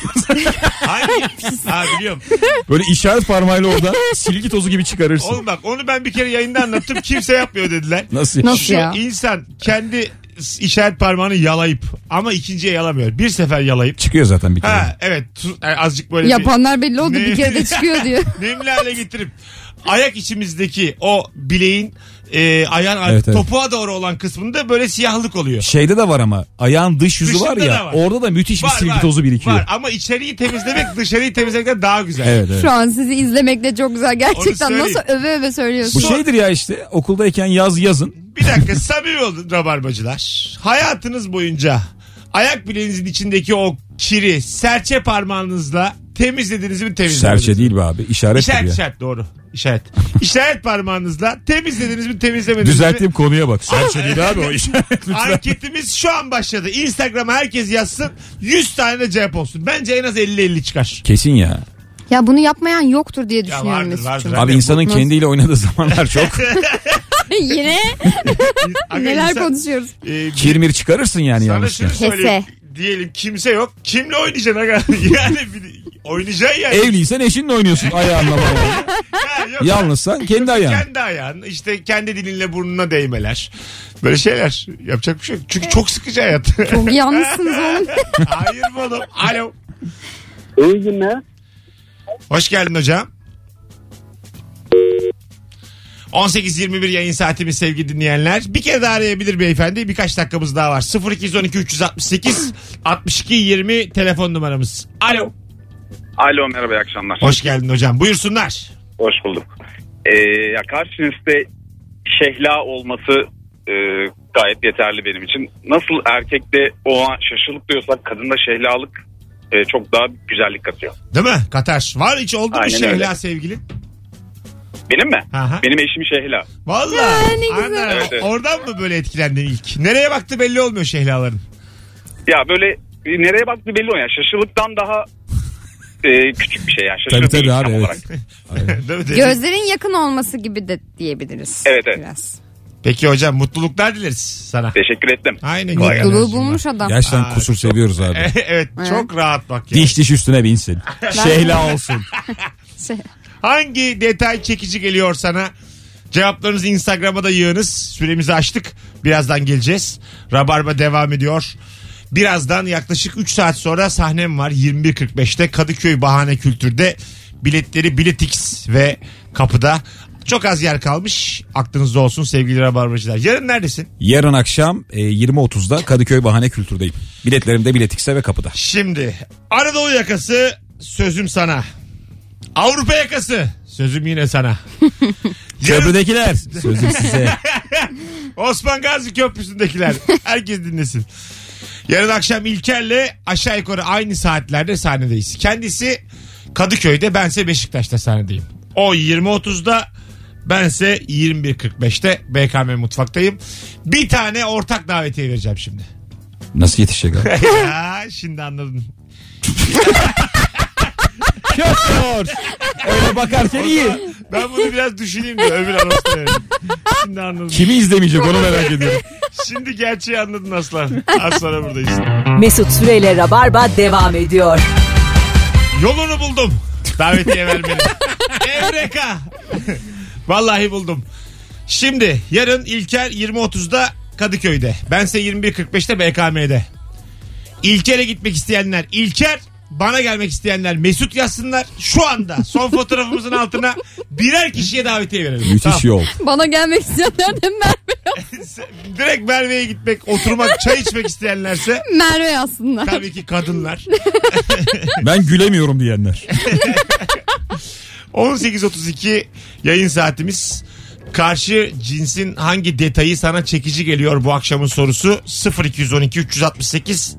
[SPEAKER 2] Hangi? ha biliyorum.
[SPEAKER 4] böyle işaret parmağıyla orada silgi tozu gibi çıkarırsın.
[SPEAKER 2] Oğlum bak onu ben bir kere yayında anlattım. Kimse yapmıyor dediler.
[SPEAKER 4] Nasıl? ya?
[SPEAKER 3] Nasıl
[SPEAKER 2] Şu
[SPEAKER 3] ya?
[SPEAKER 2] insan kendi işaret parmağını yalayıp ama ikinciye yalamıyor. Bir sefer yalayıp.
[SPEAKER 4] Çıkıyor zaten bir kere.
[SPEAKER 2] Ha evet tu- yani azıcık böyle bir-
[SPEAKER 3] Yapanlar belli oldu
[SPEAKER 2] Ne?
[SPEAKER 3] bir kere de çıkıyor diyor.
[SPEAKER 2] nemli hale getirip ayak içimizdeki o bileğin e, ayağın
[SPEAKER 4] Evet, evet.
[SPEAKER 2] topuğa doğru olan kısmında böyle siyahlık oluyor.
[SPEAKER 4] Şeyde de var ama ayağın dış yüzü
[SPEAKER 2] Dışında
[SPEAKER 4] var ya
[SPEAKER 2] da var.
[SPEAKER 4] orada da müthiş bir
[SPEAKER 2] Var,
[SPEAKER 4] silgi
[SPEAKER 2] var,
[SPEAKER 4] tozu birikiyor.
[SPEAKER 2] Var ama içeriği temizlemek dışarıyı temizlemekten daha güzel.
[SPEAKER 4] Evet, evet.
[SPEAKER 3] Şu an sizi izlemek de çok güzel. Gerçekten
[SPEAKER 2] söyleyeyim.
[SPEAKER 3] nasıl öve öve
[SPEAKER 4] Bu
[SPEAKER 3] söylüyorsun.
[SPEAKER 4] şeydir ya işte okuldayken yaz yazın.
[SPEAKER 2] Bir dakika samimi olun rabarbacılar. Hayatınız boyunca ayak bileğinizin içindeki o kiri serçe parmağınızla temizlediniz mi temizlemediniz
[SPEAKER 4] Serçe
[SPEAKER 2] mi?
[SPEAKER 4] değil be abi işaret
[SPEAKER 2] İşaret
[SPEAKER 4] ya.
[SPEAKER 2] işaret doğru. İşaret. İşaret parmağınızla temizlediniz mi temizlemediniz mi?
[SPEAKER 4] Düzelttiğim konuya bak. Serçe değil abi o işaret. Lütfen.
[SPEAKER 2] Anketimiz şu an başladı. Instagram'a herkes yazsın. 100 tane de cevap olsun. Bence en az 50-50 çıkar.
[SPEAKER 4] Kesin ya.
[SPEAKER 3] Ya bunu yapmayan yoktur diye düşünüyorum
[SPEAKER 2] vardır,
[SPEAKER 3] Mesut'cum.
[SPEAKER 2] vardır.
[SPEAKER 4] Abi
[SPEAKER 2] de
[SPEAKER 4] insanın
[SPEAKER 3] bıkmaz.
[SPEAKER 4] kendiyle oynadığı zamanlar çok.
[SPEAKER 3] Yine
[SPEAKER 2] Aga
[SPEAKER 3] neler
[SPEAKER 2] insan-
[SPEAKER 3] konuşuyoruz.
[SPEAKER 2] Ee,
[SPEAKER 4] Kirmir çıkarırsın yani
[SPEAKER 2] Sana
[SPEAKER 4] yanlışlıkla.
[SPEAKER 2] şunu söyleyeyim. Diyelim kimse yok. Kimle oynayacaksın aga? Yani bir- oynayacaksın yani.
[SPEAKER 4] Evliysen eşinle oynuyorsun ayağınla falan.
[SPEAKER 2] Ha, yok.
[SPEAKER 4] Yalnızsan kendi ayağın.
[SPEAKER 2] Kendi ayağın. işte kendi dilinle burnuna değmeler. Böyle şeyler. Yapacak bir şey yok. Çünkü çok sıkıcı hayat.
[SPEAKER 3] Çok yalnızsınız oğlum.
[SPEAKER 2] Hayır mı oğlum? Alo.
[SPEAKER 6] İyi günler.
[SPEAKER 2] Hoş geldin hocam. 18.21 yayın saatimiz sevgili dinleyenler. Bir kere daha arayabilir beyefendi. Birkaç dakikamız daha var. 0212 368 62 20 telefon numaramız. Alo.
[SPEAKER 5] Alo merhaba iyi akşamlar.
[SPEAKER 2] Hoş geldin hocam. Buyursunlar.
[SPEAKER 5] Hoş bulduk. Ee, ya karşı cinste şehla olması e, gayet yeterli benim için. Nasıl erkekte o an şaşılık diyorsak kadında şehlalık e, çok daha güzellik katıyor.
[SPEAKER 2] Değil mi? Katar. Var hiç oldu mu
[SPEAKER 5] Aynen
[SPEAKER 2] Şehla
[SPEAKER 5] öyle.
[SPEAKER 2] sevgilin?
[SPEAKER 5] Benim mi?
[SPEAKER 2] Aha.
[SPEAKER 5] Benim eşim şehla.
[SPEAKER 2] Valla.
[SPEAKER 3] ne güzel.
[SPEAKER 2] Ana,
[SPEAKER 5] Evet, evet.
[SPEAKER 2] Oradan mı böyle etkilendin ilk? Nereye baktı belli olmuyor Şehla'ların.
[SPEAKER 5] Ya böyle e, nereye baktı belli olmuyor. Yani şaşılıktan daha e, küçük bir şey yani.
[SPEAKER 4] Tabii
[SPEAKER 5] Şaşırtıcı
[SPEAKER 4] tabii
[SPEAKER 5] tam
[SPEAKER 4] abi
[SPEAKER 5] olarak.
[SPEAKER 4] evet.
[SPEAKER 2] Değil mi?
[SPEAKER 3] Gözlerin yakın olması gibi de diyebiliriz.
[SPEAKER 5] Evet, evet.
[SPEAKER 3] Biraz.
[SPEAKER 2] Peki hocam mutluluklar dileriz sana.
[SPEAKER 5] Teşekkür ettim.
[SPEAKER 2] Aynen.
[SPEAKER 3] Mutluluğu bulmuş adam.
[SPEAKER 4] Gerçekten
[SPEAKER 2] Aa,
[SPEAKER 4] kusur seviyoruz abi.
[SPEAKER 2] evet, çok rahat bak ya.
[SPEAKER 4] Diş diş üstüne binsin. Şehla olsun.
[SPEAKER 3] Şey-
[SPEAKER 2] Hangi detay çekici geliyor sana? Cevaplarınızı Instagram'a da yığınız. Süremizi açtık. Birazdan geleceğiz. Rabarba devam ediyor. Birazdan yaklaşık 3 saat sonra sahnem var 21.45'te Kadıköy Bahane Kültür'de. Biletleri Biletix ve kapıda. Çok az yer kalmış. Aklınızda olsun sevgili Rabarbacılar. Yarın neredesin?
[SPEAKER 4] Yarın akşam e, 20.30'da Kadıköy Bahane Kültür'deyim. Biletlerim de biletikse ve kapıda.
[SPEAKER 2] Şimdi Anadolu yakası sözüm sana. Avrupa yakası sözüm yine sana. Yarın-
[SPEAKER 4] Köprüdekiler sözüm size.
[SPEAKER 2] Osman Gazi Köprüsü'ndekiler. Herkes dinlesin. Yarın akşam İlker'le aşağı yukarı aynı saatlerde sahnedeyiz. Kendisi Kadıköy'de bense Beşiktaş'ta sahnedeyim. O 20.30'da bense 21.45'te BKM Mutfak'tayım. Bir tane ortak davetiye vereceğim şimdi.
[SPEAKER 4] Nasıl yetişecek abi?
[SPEAKER 2] ya, şimdi anladın.
[SPEAKER 4] Köprü. Öyle bakarken iyi.
[SPEAKER 2] Ben bunu biraz düşüneyim de öbür anonsla vereyim. Şimdi anladım.
[SPEAKER 4] Kimi izlemeyecek onu merak ediyorum.
[SPEAKER 2] Şimdi gerçeği anladın aslan. Az sonra buradayız.
[SPEAKER 1] Mesut Süreyle Rabarba devam ediyor.
[SPEAKER 2] Yolunu buldum. Davetiye vermedim. Evreka. Vallahi buldum. Şimdi yarın İlker 20.30'da Kadıköy'de. Bense 21.45'te BKM'de. İlker'e gitmek isteyenler İlker bana gelmek isteyenler Mesut yazsınlar. Şu anda son fotoğrafımızın altına birer kişiye davetiye verelim. Tamam.
[SPEAKER 4] Müthiş yol.
[SPEAKER 3] Bana gelmek isteyenlerden Merve.
[SPEAKER 2] Direkt Merve'ye gitmek, oturmak, çay içmek isteyenlerse
[SPEAKER 3] Merve yazsınlar.
[SPEAKER 2] tabii ki kadınlar.
[SPEAKER 4] Ben gülemiyorum diyenler.
[SPEAKER 2] 18.32 yayın saatimiz. Karşı cinsin hangi detayı sana çekici geliyor bu akşamın sorusu 0212 368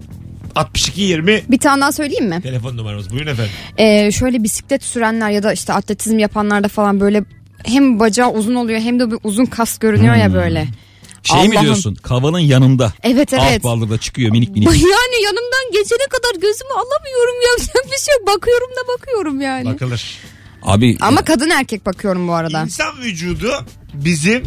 [SPEAKER 2] 62 20
[SPEAKER 3] Bir tane daha söyleyeyim mi?
[SPEAKER 2] telefon numaramız. Buyurun efendim.
[SPEAKER 3] Ee, şöyle bisiklet sürenler ya da işte atletizm yapanlarda falan böyle hem bacağı uzun oluyor hem de bir uzun kas görünüyor
[SPEAKER 2] Hmm.
[SPEAKER 3] ya böyle.
[SPEAKER 4] Şey mi
[SPEAKER 3] Allah'ım.
[SPEAKER 4] diyorsun? Kavanın yanında.
[SPEAKER 3] Evet evet.
[SPEAKER 2] Ah,
[SPEAKER 4] Alt baldır çıkıyor minik minik.
[SPEAKER 3] Yani yanımdan geçene kadar gözümü alamıyorum yapacak bir şey yok. Bakıyorum da bakıyorum yani.
[SPEAKER 2] Bakılır.
[SPEAKER 4] Abi e,
[SPEAKER 3] Ama kadın erkek bakıyorum bu arada.
[SPEAKER 2] İnsan vücudu bizim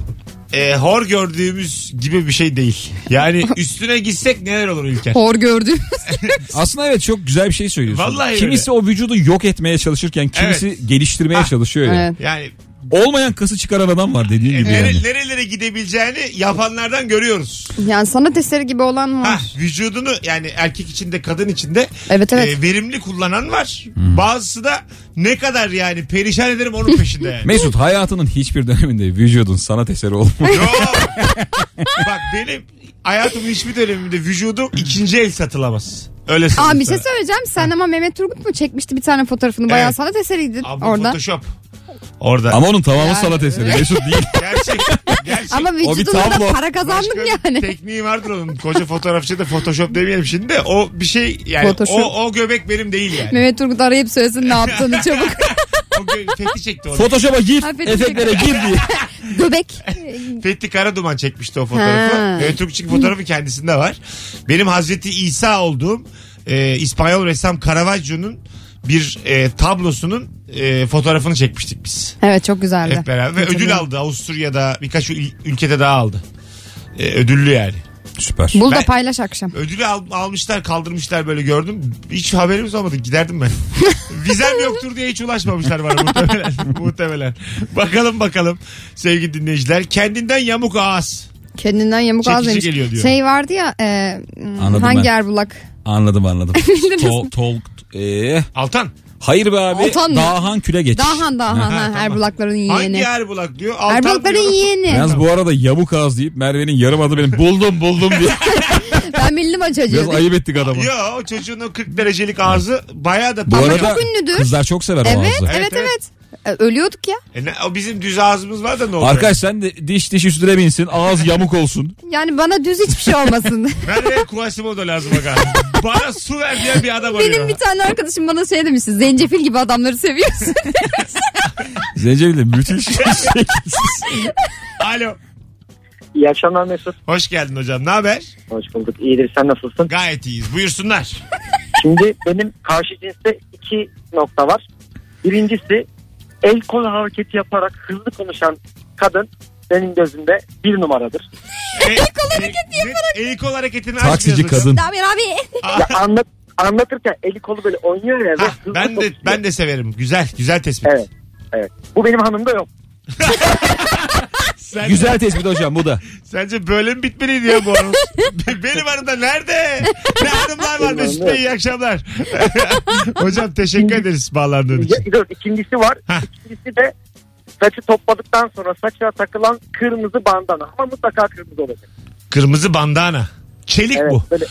[SPEAKER 2] e, hor gördüğümüz gibi bir şey değil. Yani üstüne gitsek neler olur İlker?
[SPEAKER 3] Hor gördüğümüz.
[SPEAKER 4] aslında evet çok güzel bir şey söylüyorsun.
[SPEAKER 2] Vallahi
[SPEAKER 4] kimisi o vücudu yok etmeye çalışırken kimisi geliştirmeye
[SPEAKER 2] Ha.
[SPEAKER 4] çalışıyor ya.
[SPEAKER 3] Ah, Evet.
[SPEAKER 2] Yani
[SPEAKER 4] olmayan kası çıkaran adam var dediğin gibi
[SPEAKER 2] Nere-
[SPEAKER 4] yani.
[SPEAKER 2] Nerelere gidebileceğini yapanlardan görüyoruz.
[SPEAKER 3] Yani sanat eseri gibi olan
[SPEAKER 2] Ha,
[SPEAKER 3] var.
[SPEAKER 2] vücudunu yani erkek içinde kadın içinde
[SPEAKER 3] Evet, evet.
[SPEAKER 2] e, verimli kullanan var. Bazısı da ne kadar yani perişan ederim onun peşinde yani.
[SPEAKER 4] Mesut hayatının hiçbir döneminde vücudun sanat eseri olmadı.
[SPEAKER 2] Yo. Bak benim hayatımın hiçbir döneminde vücudum ikinci el satılamaz. Öyle
[SPEAKER 3] Aa
[SPEAKER 2] söyleyeyim
[SPEAKER 3] bir şey
[SPEAKER 2] sana.
[SPEAKER 3] söyleyeceğim. Sen ama Mehmet Turgut mu çekmişti bir tane fotoğrafını? Bayağı
[SPEAKER 2] Evet.
[SPEAKER 3] sanat eseriydi
[SPEAKER 2] Abi bu
[SPEAKER 3] orada.
[SPEAKER 2] Photoshop. Orada.
[SPEAKER 4] Ama onun tamamı
[SPEAKER 3] Yani.
[SPEAKER 4] sanat eseri. Mesut değil.
[SPEAKER 2] Gerçek. gerçek.
[SPEAKER 3] Ama
[SPEAKER 4] bir
[SPEAKER 3] vücudunda
[SPEAKER 4] tablo.
[SPEAKER 3] da para kazandım
[SPEAKER 2] Başka
[SPEAKER 3] yani.
[SPEAKER 2] tekniği vardır onun. Koca fotoğrafçı da Photoshop demeyelim şimdi de. O bir şey yani
[SPEAKER 3] Photoshop.
[SPEAKER 2] o, o göbek benim değil yani.
[SPEAKER 3] Mehmet Turgut arayıp söylesin ne yaptığını çabuk.
[SPEAKER 2] o gö- fethi çekti onu.
[SPEAKER 4] Photoshop'a gir,
[SPEAKER 3] Aferin.
[SPEAKER 4] efektlere gir diye.
[SPEAKER 3] Göbek.
[SPEAKER 2] Fethi Karaduman çekmişti o fotoğrafı.
[SPEAKER 3] Ha.
[SPEAKER 2] Ve Türkçük fotoğrafı kendisinde var. Benim Hazreti İsa olduğum e, İspanyol ressam Caravaggio'nun bir e, tablosunun e, fotoğrafını çekmiştik biz.
[SPEAKER 3] Evet çok güzeldi.
[SPEAKER 2] Hep beraber. Ve ödül aldı Avusturya'da birkaç ül- ülkede daha aldı. E, ödüllü yani.
[SPEAKER 4] Süper.
[SPEAKER 3] Bul da
[SPEAKER 2] Ben-
[SPEAKER 3] paylaş akşam.
[SPEAKER 2] Ödülü al- almışlar kaldırmışlar böyle gördüm. Hiç haberimiz olmadı giderdim ben. Vizem yoktur diye hiç ulaşmamışlar bana muhtemelen. muhtemelen. Bakalım bakalım sevgili dinleyiciler. Kendinden yamuk ağız.
[SPEAKER 3] Kendinden yamuk
[SPEAKER 2] Çekici
[SPEAKER 3] ağız demiş.
[SPEAKER 2] geliyor diyor.
[SPEAKER 3] Şey vardı ya e, hmm,
[SPEAKER 4] Anladım
[SPEAKER 3] hangi
[SPEAKER 4] ben.
[SPEAKER 3] Erbulak?
[SPEAKER 4] Anladım anladım. Tol, tol, ee,
[SPEAKER 2] Altan.
[SPEAKER 4] hayır be abi.
[SPEAKER 3] Altan mı?
[SPEAKER 4] Dahan küle geç.
[SPEAKER 3] Dahan Dahan ha, Erbulakların
[SPEAKER 2] Hangi
[SPEAKER 3] yeğeni.
[SPEAKER 2] Erbulak diyor? Altan
[SPEAKER 3] Erbulakların
[SPEAKER 2] diyor.
[SPEAKER 3] yeğeni.
[SPEAKER 4] Yalnız bu arada yamuk ağız deyip Merve'nin yarım adı benim buldum buldum diye.
[SPEAKER 3] Ben milli maç
[SPEAKER 4] Biraz
[SPEAKER 3] acıyordum.
[SPEAKER 4] ayıp ettik adamı.
[SPEAKER 2] Yo o çocuğun o 40 derecelik ağzı bayağı da
[SPEAKER 4] Bu
[SPEAKER 2] Ama
[SPEAKER 4] arada
[SPEAKER 2] yok.
[SPEAKER 3] çok ünlüdür.
[SPEAKER 4] kızlar çok sever o
[SPEAKER 3] Evet,
[SPEAKER 4] ağzı.
[SPEAKER 2] Evet,
[SPEAKER 3] evet, evet. E, Ölüyorduk ya.
[SPEAKER 2] E ne- o bizim düz ağzımız var da ne oluyor?
[SPEAKER 4] Arkadaş sen de diş diş üstüne binsin ağız yamuk olsun.
[SPEAKER 3] Yani bana düz hiçbir şey olmasın.
[SPEAKER 2] Merve'ye Quasimodo lazım aga. Bana su ver diyen bir adam arıyor.
[SPEAKER 3] Benim bir tane arkadaşım bana şey demişti. Zencefil gibi adamları seviyorsun.
[SPEAKER 4] Zencefil de müthiş.
[SPEAKER 2] Alo.
[SPEAKER 6] İyi akşamlar Mesut.
[SPEAKER 2] Hoş geldin hocam. Ne haber?
[SPEAKER 6] Hoş bulduk. İyidir sen nasılsın?
[SPEAKER 2] Gayet iyiyiz. Buyursunlar.
[SPEAKER 6] Şimdi benim karşı cinste iki nokta var. Birincisi el kol hareketi yaparak hızlı konuşan kadın benim gözümde bir numaradır.
[SPEAKER 2] E, el kol hareketi yaparak. El kol hareketini aç
[SPEAKER 4] Taksici
[SPEAKER 2] biraz hocam.
[SPEAKER 4] kadın.
[SPEAKER 3] Damir abi.
[SPEAKER 6] Ya anlat anlatırken eli kolu böyle oynuyor ya. ve
[SPEAKER 2] Ah. Ha,
[SPEAKER 6] hızlı
[SPEAKER 2] ben de
[SPEAKER 6] konuşuyor.
[SPEAKER 2] ben de severim. Güzel, güzel tespit.
[SPEAKER 6] Evet. Evet. Bu benim hanımda yok.
[SPEAKER 2] Sen-
[SPEAKER 4] Güzel tespit hocam bu da.
[SPEAKER 2] Sence böyle mi bitmeliydi ya bu anons? Be- Benim hanımda nerede? Ne hanımlar var Mesut Bey iyi akşamlar. Hocam teşekkür ederiz bağlandığın
[SPEAKER 6] Ya,
[SPEAKER 2] için.
[SPEAKER 6] dur, ikincisi var.
[SPEAKER 2] Hah.
[SPEAKER 6] İkincisi de saçı topladıktan sonra saçına takılan kırmızı bandana. Ama mutlaka kırmızı olacak.
[SPEAKER 2] Kırmızı bandana. Çelik
[SPEAKER 6] Evet.
[SPEAKER 2] bu.
[SPEAKER 6] Böyle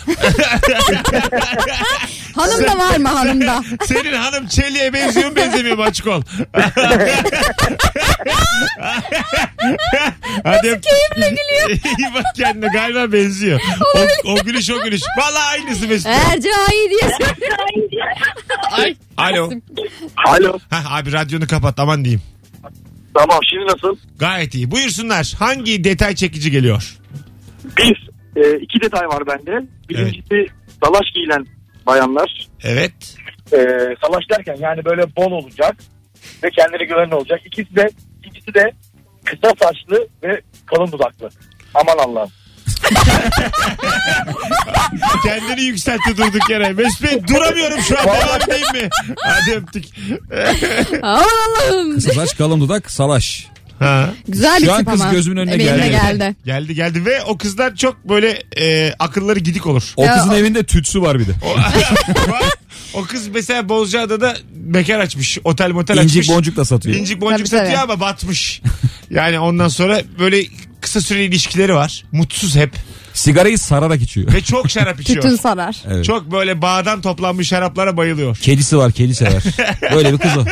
[SPEAKER 3] Hanım da var mı hanım da?
[SPEAKER 2] Senin hanım çeliğe benziyor mu benzemiyor mu açık ol. Hadi keyifle gülüyor. İyi bak kendine galiba benziyor. O, o gülüş o gülüş. Valla aynısı Mesut. Bey.
[SPEAKER 3] Ercai diye
[SPEAKER 2] Alo.
[SPEAKER 7] Alo.
[SPEAKER 2] Hah, abi radyonu kapat aman diyeyim.
[SPEAKER 7] Tamam şimdi nasıl?
[SPEAKER 2] Gayet iyi. Buyursunlar. Hangi detay çekici geliyor?
[SPEAKER 7] Bir, e, iki detay var bende. Birincisi salaş giyilen bayanlar.
[SPEAKER 2] Evet.
[SPEAKER 7] E, salaş derken yani böyle bol olacak ve kendine güvenli olacak. İkisi de, ikisi de kısa saçlı ve kalın dudaklı. Aman Allah'ım.
[SPEAKER 2] Kendini yükseltti durduk yere. Mesut Bey duramıyorum şu an. Devam edeyim mi? Hadi öptük.
[SPEAKER 3] Aman Allah'ım.
[SPEAKER 4] Kısa saç kalın dudak salaş.
[SPEAKER 2] Ha.
[SPEAKER 3] Güzel bir
[SPEAKER 4] Şu an
[SPEAKER 3] tip
[SPEAKER 4] kız
[SPEAKER 3] ama.
[SPEAKER 4] gözümün önüne
[SPEAKER 3] Benim de
[SPEAKER 4] geldi.
[SPEAKER 3] geldi.
[SPEAKER 2] Geldi geldi ve o kızlar çok böyle e, akılları gidik olur.
[SPEAKER 4] O
[SPEAKER 3] Ya,
[SPEAKER 4] kızın
[SPEAKER 3] o-
[SPEAKER 4] evinde tütsü var bir de.
[SPEAKER 2] O, o kız mesela Bozcaada'da bekar açmış. Otel motel açmış.
[SPEAKER 4] İncik boncuk da satıyor.
[SPEAKER 2] İncik boncuk
[SPEAKER 3] Tabii,
[SPEAKER 2] satıyor
[SPEAKER 3] tabii.
[SPEAKER 2] ama batmış. Yani ondan sonra böyle kısa süreli ilişkileri var. Mutsuz hep.
[SPEAKER 4] Sigarayı sararak içiyor.
[SPEAKER 2] Ve çok şarap içiyor.
[SPEAKER 3] Tütün sarar.
[SPEAKER 4] Evet.
[SPEAKER 2] Çok böyle bağdan toplanmış şaraplara bayılıyor.
[SPEAKER 4] Kedisi var kedi sever. Böyle bir kız o.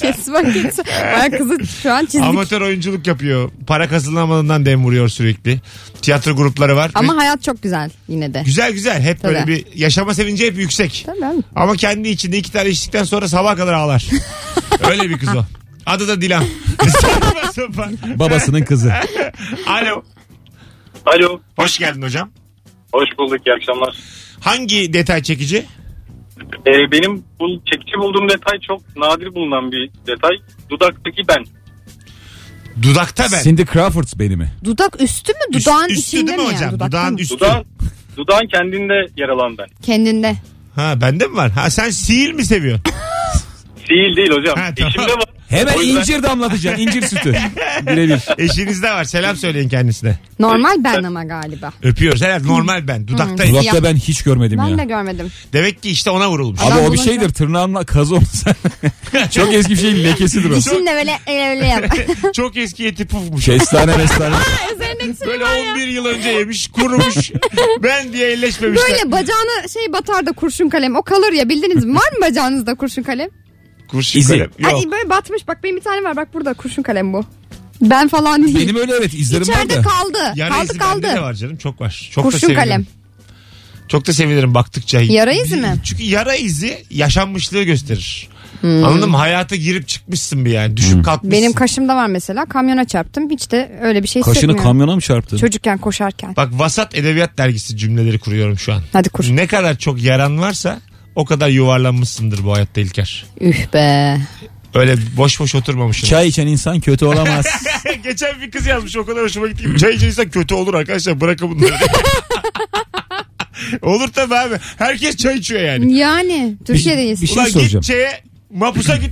[SPEAKER 3] Kes bak kes. Baya kızı şu an çizdik. Ama,
[SPEAKER 2] Amatör oyunculuk yapıyor. Para kazanamadığından dem vuruyor sürekli. Tiyatro grupları var. Ve
[SPEAKER 3] hayat çok güzel yine de.
[SPEAKER 2] güzel güzel. Hep böyle
[SPEAKER 3] Tabii.
[SPEAKER 2] bir yaşama sevinci hep yüksek.
[SPEAKER 3] Tabii abi.
[SPEAKER 2] Ama kendi içinde iki tane içtikten sonra sabah kadar ağlar. Öyle bir kız o. Adı da Dilan. Saçma sapan.
[SPEAKER 4] Babasının kızı.
[SPEAKER 2] Alo.
[SPEAKER 7] Alo.
[SPEAKER 2] Hoş geldin hocam.
[SPEAKER 7] Hoş bulduk. iyi akşamlar.
[SPEAKER 2] Hangi detay çekici?
[SPEAKER 7] E, benim bu çekici bulduğum detay çok nadir bulunan bir detay. Dudaktaki ben.
[SPEAKER 2] Dudakta ben.
[SPEAKER 4] Cindy Crawford's beni mi?
[SPEAKER 3] Dudak üstü mü?
[SPEAKER 2] Üst-
[SPEAKER 3] Dudağın
[SPEAKER 2] üstü
[SPEAKER 3] içinde
[SPEAKER 2] değil mi
[SPEAKER 3] mi
[SPEAKER 2] hocam?
[SPEAKER 3] yani? Dudakta
[SPEAKER 2] Dudağın
[SPEAKER 3] mı?
[SPEAKER 2] üstü.
[SPEAKER 7] Dudağın, dudağın kendinde yer alan ben.
[SPEAKER 3] Kendinde.
[SPEAKER 2] Ha bende mi var? Ha sen sihir mi seviyorsun?
[SPEAKER 7] Değil değil hocam.
[SPEAKER 2] Ha, tamam.
[SPEAKER 7] Eşimde var.
[SPEAKER 4] Hemen
[SPEAKER 5] O yüzden-
[SPEAKER 4] incir damlatacaksın. incir sütü. Birebir.
[SPEAKER 2] Eşinizde var. Selam söyleyin kendisine.
[SPEAKER 3] Normal ben ama galiba.
[SPEAKER 2] Öpüyoruz. Herhalde normal ben. Dudaktayım.
[SPEAKER 4] Kulakta ben hiç görmedim
[SPEAKER 3] Ben
[SPEAKER 4] ya.
[SPEAKER 3] de görmedim.
[SPEAKER 2] Demek ki işte ona vurulmuş.
[SPEAKER 4] Abi
[SPEAKER 3] Adam
[SPEAKER 4] o bir
[SPEAKER 3] bulunca-
[SPEAKER 4] şeydir tırnağınla kazı olsa. Çok eski bir şeyin lekesidir o.
[SPEAKER 3] Dişinle böyle öyle yap.
[SPEAKER 2] Çok eski eti pufmuş.
[SPEAKER 3] Şey-
[SPEAKER 4] Kestane mestane.
[SPEAKER 2] Böyle 11 yıl önce yemiş, kurumuş. ben diye elleşmemişler.
[SPEAKER 3] Böyle bacağına şey batar da kurşun kalem. O kalır ya bildiniz mi? Var mı bacağınızda kurşun kalem?
[SPEAKER 2] Kurşun
[SPEAKER 4] İzi.
[SPEAKER 2] kalem. Yok.
[SPEAKER 3] Ay, böyle batmış bak benim bir tane var bak burada kurşun kalem bu. Ben falan değil.
[SPEAKER 4] Benim öyle evet izlerim var
[SPEAKER 3] İçeride
[SPEAKER 4] da.
[SPEAKER 3] kaldı.
[SPEAKER 2] Yara
[SPEAKER 3] kaldı
[SPEAKER 2] izi bende de
[SPEAKER 3] kaldı.
[SPEAKER 2] var canım. Çok var. Çok da
[SPEAKER 3] Kurşun
[SPEAKER 2] sevinirim.
[SPEAKER 3] kalem.
[SPEAKER 2] Çok da sevinirim baktıkça.
[SPEAKER 3] Yara izi mi?
[SPEAKER 2] Çünkü yara izi yaşanmışlığı gösterir. Anladın mı? Hayata girip çıkmışsın bir yani. Düşüp kalkmışsın.
[SPEAKER 3] Hmm. Benim kaşımda var mesela. Kamyona çarptım. Hiç de öyle bir şey
[SPEAKER 4] Kaşını
[SPEAKER 3] hissetmiyorum.
[SPEAKER 4] kamyona mı çarptı?
[SPEAKER 3] Çocukken koşarken.
[SPEAKER 2] Bak Vasat Edebiyat Dergisi cümleleri kuruyorum şu an.
[SPEAKER 3] Hadi kur.
[SPEAKER 2] Ne kadar çok yaran varsa o kadar yuvarlanmışsındır bu hayatta İlker.
[SPEAKER 3] Üh be.
[SPEAKER 2] Öyle boş boş oturmamışsın.
[SPEAKER 4] Çay içen insan kötü olamaz.
[SPEAKER 2] Geçen bir kız yazmış o kadar hoşuma gitti. ki, Çay içersen kötü olur arkadaşlar bırakın bunları. olur tabii abi. Herkes çay içiyor yani.
[SPEAKER 3] Yani Türkiye'deyiz.
[SPEAKER 4] Hmm. bir şey
[SPEAKER 2] Ulan
[SPEAKER 4] soracağım.
[SPEAKER 2] git çaya mapusa git.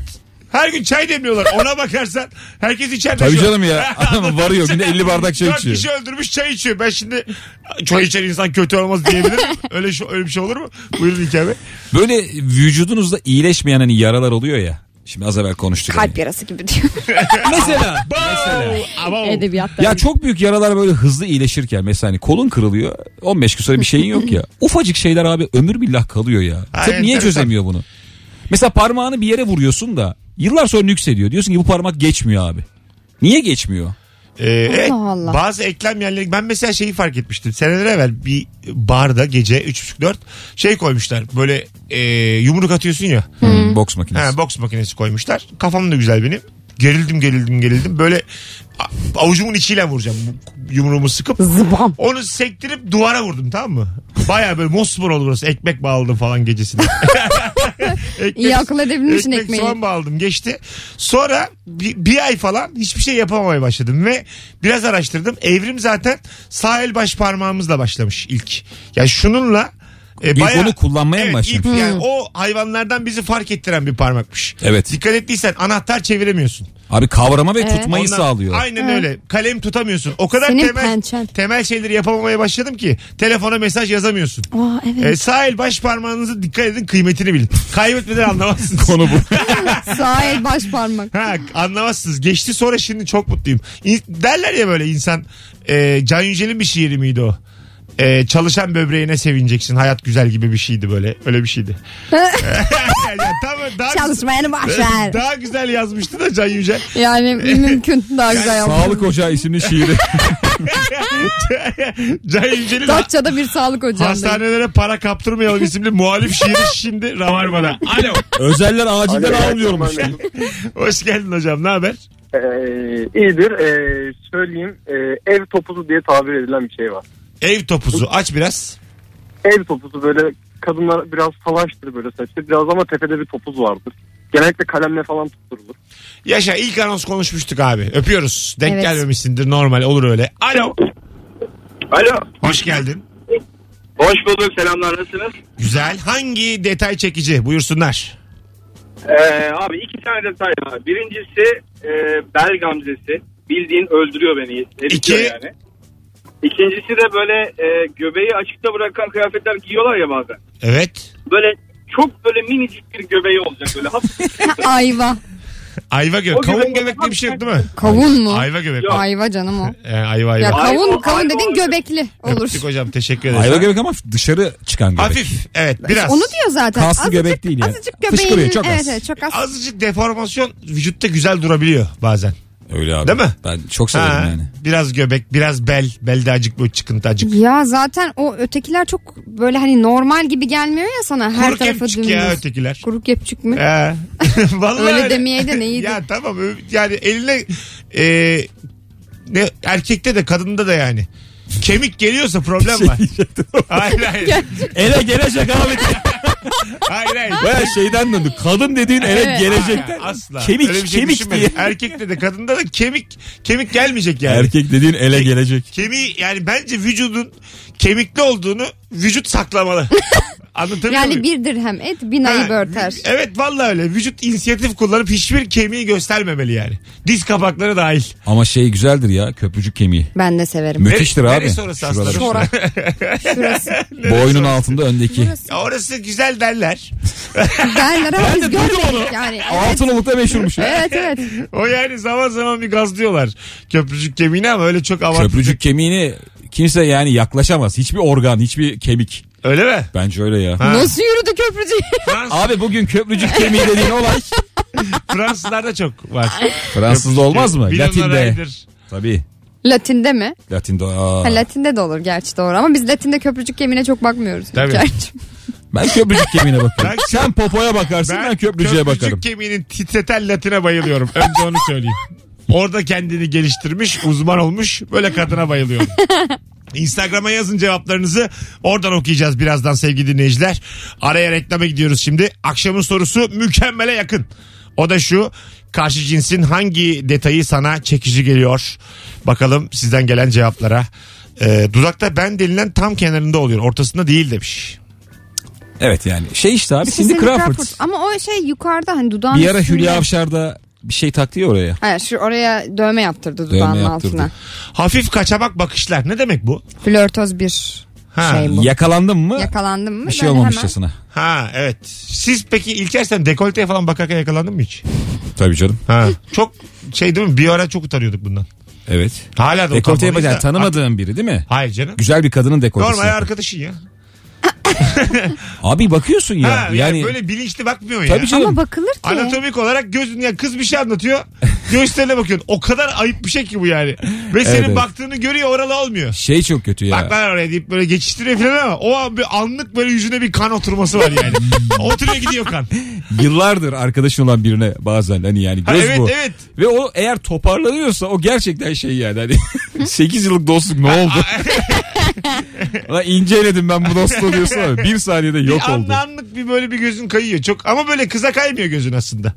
[SPEAKER 2] Her gün çay demiyorlar. Ona bakarsan herkes içeride.
[SPEAKER 4] Tabii
[SPEAKER 2] şu an.
[SPEAKER 4] canım ya. Adam varıyor, günde 50 bardak çay
[SPEAKER 2] Dört
[SPEAKER 4] içiyor.
[SPEAKER 2] kişi öldürmüş çay içiyor. Ben şimdi çay içen insan kötü olmaz diyebilirim. Öyle, şu, öyle bir şey olur mu? Buyurun İlker Bey.
[SPEAKER 4] Böyle vücudunuzda iyileşmeyen hani yaralar oluyor ya. Şimdi az evvel konuştuk.
[SPEAKER 3] Kalp yarası gibi diyor.
[SPEAKER 4] hani. Mesela.
[SPEAKER 2] Mesela. Ama o-
[SPEAKER 3] Edebiyatta.
[SPEAKER 4] Ya çok büyük yaralar böyle hızlı iyileşirken mesela hani kolun kırılıyor 15 gün sonra bir şeyin yok ya. Ufacık şeyler abi ömür billah kalıyor ya.
[SPEAKER 2] Ay,
[SPEAKER 4] Tıp niye
[SPEAKER 2] enteresan.
[SPEAKER 4] çözemiyor bunu? Mesela parmağını bir yere vuruyorsun da yıllar sonra nüksediyor. Diyorsun ki bu parmak geçmiyor abi. Niye geçmiyor?
[SPEAKER 2] Ee, evet,
[SPEAKER 3] Allah Allah.
[SPEAKER 2] Bazı eklem yerleri ben mesela şeyi fark etmiştim. Seneler evvel bir barda gece 3.30-4 şey koymuşlar. Böyle e, yumruk atıyorsun ya.
[SPEAKER 4] Hmm, boks makinesi.
[SPEAKER 2] Ha, boks makinesi koymuşlar. Kafam da güzel benim. Gerildim gerildim gerildim. Böyle a- avucumun içiyle vuracağım bu yumruğumu sıkıp.
[SPEAKER 3] Zıbam.
[SPEAKER 2] Onu sektirip duvara vurdum tamam mı? Baya böyle mosmor oldu burası. Ekmek bağladım falan gecesinde. Ekmek-
[SPEAKER 3] İyi akıl edebilmişsin
[SPEAKER 2] ekmek,
[SPEAKER 3] ekmeği.
[SPEAKER 2] soğan bağladım geçti. Sonra bir, bir ay falan hiçbir şey yapamamaya başladım ve biraz araştırdım. Evrim zaten sağ el baş parmağımızla başlamış ilk. Yani şununla e,
[SPEAKER 4] İlk onu kullanmaya mı
[SPEAKER 2] Evet,
[SPEAKER 4] başlamış?
[SPEAKER 2] ilk yani o hayvanlardan bizi fark ettiren bir parmakmış.
[SPEAKER 4] Evet.
[SPEAKER 2] Dikkat ettiysen anahtar çeviremiyorsun.
[SPEAKER 4] Abi kavrama ve tutmayı
[SPEAKER 2] Ondan-
[SPEAKER 4] sağlıyor.
[SPEAKER 2] Aynen öyle. Kalem tutamıyorsun. O kadar
[SPEAKER 3] Senin
[SPEAKER 2] temel
[SPEAKER 3] pençen.
[SPEAKER 2] temel şeyleri yapamamaya başladım ki telefona mesaj yazamıyorsun.
[SPEAKER 3] Aa
[SPEAKER 2] E,
[SPEAKER 3] evet.
[SPEAKER 2] sağ el baş parmağınızı dikkat edin kıymetini bilin. Kaybetmeden anlamazsınız.
[SPEAKER 4] Konu bu.
[SPEAKER 3] Sağ el baş parmak.
[SPEAKER 2] Ha anlamazsınız. Geçti sonra şimdi çok mutluyum. İn- derler ya böyle insan e, Can Yücel'in bir şiiri miydi o? E, çalışan böbreğine sevineceksin. Hayat güzel gibi bir şeydi böyle. Öyle bir şeydi. Ya tam, daha,
[SPEAKER 3] Çalışmayanı boş ver.
[SPEAKER 2] daha güzel yazmıştı da Can Yücel.
[SPEAKER 3] Yani mümkün daha güzel yaptın.
[SPEAKER 4] Sağlık Ocağı isimli şiiri.
[SPEAKER 2] Can Yücel'in
[SPEAKER 3] Datça'da bir sağlık ocağındayım.
[SPEAKER 2] Hastanelere para kaptırmayalım isimli muhalif şiiri şimdi Rabarba'da. Alo.
[SPEAKER 4] Özeller acilden almıyormuş.
[SPEAKER 2] Hoş geldin hocam. Ne haber?
[SPEAKER 5] Ee, iyidir. söyleyeyim. Ee, ev topuzu diye tabir edilen bir şey var.
[SPEAKER 2] Ev topuzu aç biraz.
[SPEAKER 5] Ev topuzu böyle kadınlar biraz salaştır böyle saçta. Biraz ama tepede bir topuz vardır. Genellikle kalemle falan tutturulur.
[SPEAKER 2] Yaşa ilk anons konuşmuştuk abi. Öpüyoruz. Denk
[SPEAKER 3] Evet.
[SPEAKER 2] gelmemişsindir normal olur öyle. Alo.
[SPEAKER 7] Alo.
[SPEAKER 2] Hoş geldin.
[SPEAKER 7] Hoş bulduk. Selamlar. Nasılsınız?
[SPEAKER 2] Güzel. Hangi detay çekici? Buyursunlar.
[SPEAKER 7] Ee, abi iki tane detay var. Birincisi e, bel gamzesi. Bildiğin öldürüyor beni. eritiyor
[SPEAKER 2] İki.
[SPEAKER 7] Yani. İkincisi de böyle e, göbeği açıkta bırakan kıyafetler giyiyorlar ya bazen.
[SPEAKER 2] Evet.
[SPEAKER 7] Böyle çok böyle minicik bir göbeği olacak böyle hafif.
[SPEAKER 3] Ayva.
[SPEAKER 2] Ayva göbek.
[SPEAKER 7] O göbek-
[SPEAKER 2] Kavun göbek diye bir şey yok değil mi?
[SPEAKER 3] Kavun mu?
[SPEAKER 2] Ayva göbek.
[SPEAKER 7] Yok.
[SPEAKER 3] Ayva canım o.
[SPEAKER 2] Ee, ayva ayva.
[SPEAKER 3] Ya kavun,
[SPEAKER 7] Ayva-
[SPEAKER 3] kavun
[SPEAKER 7] ayva
[SPEAKER 3] dedin
[SPEAKER 7] olur.
[SPEAKER 3] göbekli olur.
[SPEAKER 2] Öptük hocam teşekkür ederiz.
[SPEAKER 4] Ayva göbek ama dışarı çıkan göbek.
[SPEAKER 2] Hafif. Evet biraz.
[SPEAKER 3] Onu diyor zaten.
[SPEAKER 4] Kaslı göbek değil yani.
[SPEAKER 3] Azıcık göbeğinin.
[SPEAKER 4] Fışkırıyor, çok az.
[SPEAKER 3] evet, evet, çok az.
[SPEAKER 2] Azıcık deformasyon vücutta güzel durabiliyor bazen.
[SPEAKER 4] Öyle abi.
[SPEAKER 2] Değil mi?
[SPEAKER 4] Ben çok severim
[SPEAKER 2] Ha,
[SPEAKER 4] yani.
[SPEAKER 2] Biraz göbek, biraz bel. Belde acık böyle çıkıntı acık.
[SPEAKER 3] Ya zaten o ötekiler çok böyle hani normal gibi gelmiyor ya sana. Her
[SPEAKER 2] Kuru
[SPEAKER 3] tarafı
[SPEAKER 2] kemçik ya
[SPEAKER 3] dümdüz.
[SPEAKER 2] ötekiler.
[SPEAKER 3] Kuru kepçük mü?
[SPEAKER 2] Ee, vallahi
[SPEAKER 3] Öyle demeyeydin, iyiydi.
[SPEAKER 2] ya tamam ö- yani eline e, ne erkekte de kadında da yani. Kemik geliyorsa
[SPEAKER 4] Şey
[SPEAKER 2] problem var. hayır hayır.
[SPEAKER 4] Ele gelecek abi.
[SPEAKER 2] hayır hayır.
[SPEAKER 4] Baya şeyden döndü. Kadın dediğin ele
[SPEAKER 3] Evet.
[SPEAKER 4] gelecekten.
[SPEAKER 2] Asla.
[SPEAKER 4] Kemik
[SPEAKER 2] Öyle bir şey
[SPEAKER 4] kemik
[SPEAKER 2] düşünmedim.
[SPEAKER 4] diye.
[SPEAKER 2] Erkekte de kadında da kemik kemik gelmeyecek yani.
[SPEAKER 4] Erkek dediğin ele gelecek.
[SPEAKER 2] Kemiği yani bence vücudun kemikli olduğunu vücut saklamalı. Anlatabiliyor muyum?
[SPEAKER 3] Yani bir dirhem et bin ayıbı
[SPEAKER 2] Ha,
[SPEAKER 3] örter.
[SPEAKER 2] vü- Evet vallahi öyle. Vücut inisiyatif kullanıp hiçbir kemiği göstermemeli yani. Diz kapakları dahil.
[SPEAKER 4] Ama şey güzeldir ya köprücük kemiği.
[SPEAKER 3] Ben de severim.
[SPEAKER 4] Müthiştir
[SPEAKER 2] Nere-
[SPEAKER 4] abi.
[SPEAKER 2] neresi orası aslında?
[SPEAKER 4] Şuraları.
[SPEAKER 3] Sonra şurası
[SPEAKER 4] Boynun altında öndeki.
[SPEAKER 2] Ya Orası güzel derler.
[SPEAKER 3] derler ama biz görmedik yani. Evet
[SPEAKER 4] Altınoluk'ta meşhurmuş. ya.
[SPEAKER 3] evet. evet.
[SPEAKER 2] O yani zaman zaman bir gazlıyorlar köprücük kemiğini ama öyle çok avantajlı.
[SPEAKER 4] Köprücük kemiğini kimse yani yaklaşamaz. Hiçbir organ, hiçbir kemik.
[SPEAKER 2] Öyle mi?
[SPEAKER 4] Bence öyle ya.
[SPEAKER 2] Ha.
[SPEAKER 3] Nasıl yürüdü köprücüğü?
[SPEAKER 2] Frans,
[SPEAKER 4] Abi bugün köprücük kemiği dediğin olay.
[SPEAKER 2] Fransızlarda çok var.
[SPEAKER 4] Fransız'da olmaz mı?
[SPEAKER 2] Bilal
[SPEAKER 4] Latin'de.
[SPEAKER 2] Oray'dır.
[SPEAKER 4] Tabii.
[SPEAKER 3] Latinde mi?
[SPEAKER 4] Latin'de.
[SPEAKER 3] Ha,
[SPEAKER 4] Aa.
[SPEAKER 3] Latinde de olur gerçi doğru ama biz Latinde köprücük yemine çok bakmıyoruz.
[SPEAKER 2] Tabii.
[SPEAKER 3] Gerçi.
[SPEAKER 4] Ben köprücük kemiğine bakarım.
[SPEAKER 2] Ben-
[SPEAKER 4] Sen popoya bakarsın ben, köprücüğe bakarım.
[SPEAKER 2] Köprücük kemiğinin titreten latine bayılıyorum. Önce onu söyleyeyim. Orada kendini geliştirmiş, uzman olmuş. Böyle kadına bayılıyorum. Instagram'a yazın cevaplarınızı. Oradan okuyacağız birazdan sevgili dinleyiciler. Araya reklama gidiyoruz şimdi. Akşamın sorusu mükemmele yakın. O da şu. Karşı cinsin hangi detayı sana çekici geliyor? Bakalım sizden gelen cevaplara. Ee, dudakta ben denilen tam kenarında oluyor. Ortasında değil demiş.
[SPEAKER 4] Evet yani şey işte abi Cindy
[SPEAKER 3] Cindy
[SPEAKER 4] Crawford.
[SPEAKER 3] Ama o şey yukarıda hani dudağın
[SPEAKER 4] Bir ara
[SPEAKER 3] üstünde.
[SPEAKER 4] Hülya Avşar'da bir şey taktı ya oraya.
[SPEAKER 3] Hayır şu oraya dövme yaptırdı dudağın
[SPEAKER 4] yaptırdı.
[SPEAKER 3] altına.
[SPEAKER 2] Hafif kaçamak bakışlar. Ne demek bu?
[SPEAKER 3] Flörtöz bir
[SPEAKER 2] Ha.
[SPEAKER 3] şey bu.
[SPEAKER 4] Yakalandın mı?
[SPEAKER 3] Yakalandım mı?
[SPEAKER 4] bir şey
[SPEAKER 3] böyle
[SPEAKER 4] olmamışçasına.
[SPEAKER 2] Ha evet. Siz peki İlker sen dekolteye falan bakarken yakalandın mı hiç?
[SPEAKER 4] Tabii canım.
[SPEAKER 2] Ha. çok şey değil mi? Bir ara çok utanıyorduk bundan.
[SPEAKER 4] Evet.
[SPEAKER 2] Hala da
[SPEAKER 4] Dekolte
[SPEAKER 2] utanmalıyız
[SPEAKER 4] yapacağını
[SPEAKER 2] da.
[SPEAKER 4] tanımadığın biri değil mi?
[SPEAKER 2] Hayır canım.
[SPEAKER 4] Güzel bir kadının dekoltesi.
[SPEAKER 2] Normal arkadaşın ya.
[SPEAKER 4] Abi bakıyorsun ya.
[SPEAKER 2] Ha, yani,
[SPEAKER 4] yani,
[SPEAKER 2] böyle bilinçli bakmıyor ya.
[SPEAKER 4] tabii
[SPEAKER 3] Hemen.
[SPEAKER 4] canım.
[SPEAKER 3] Ama bakılır ki.
[SPEAKER 2] Anatomik olarak gözün ya kız bir şey anlatıyor. Göğüslerine bakıyorsun. O kadar ayıp bir şey ki bu yani. Ve senin
[SPEAKER 4] evet.
[SPEAKER 2] baktığını görüyor oralı olmuyor.
[SPEAKER 4] şey çok kötü ya.
[SPEAKER 2] Bak ben oraya deyip böyle geçiştiriyor falan ama o an bir anlık böyle yüzüne bir kan oturması var yani. Oturuyor gidiyor kan.
[SPEAKER 4] Yıllardır arkadaşın olan birine bazen hani yani
[SPEAKER 2] Ha,
[SPEAKER 4] göz
[SPEAKER 2] evet
[SPEAKER 4] bu.
[SPEAKER 2] evet.
[SPEAKER 4] Ve o eğer toparlanıyorsa o gerçekten şey yani hani 8 yıllık dostluk ne oldu? Ulan inceledim ben bu dostluğu diyorsun ama bir saniyede yok
[SPEAKER 2] bir
[SPEAKER 4] oldu.
[SPEAKER 2] anlı anlık bir böyle bir gözün kayıyor çok ama böyle kıza kaymıyor gözün aslında.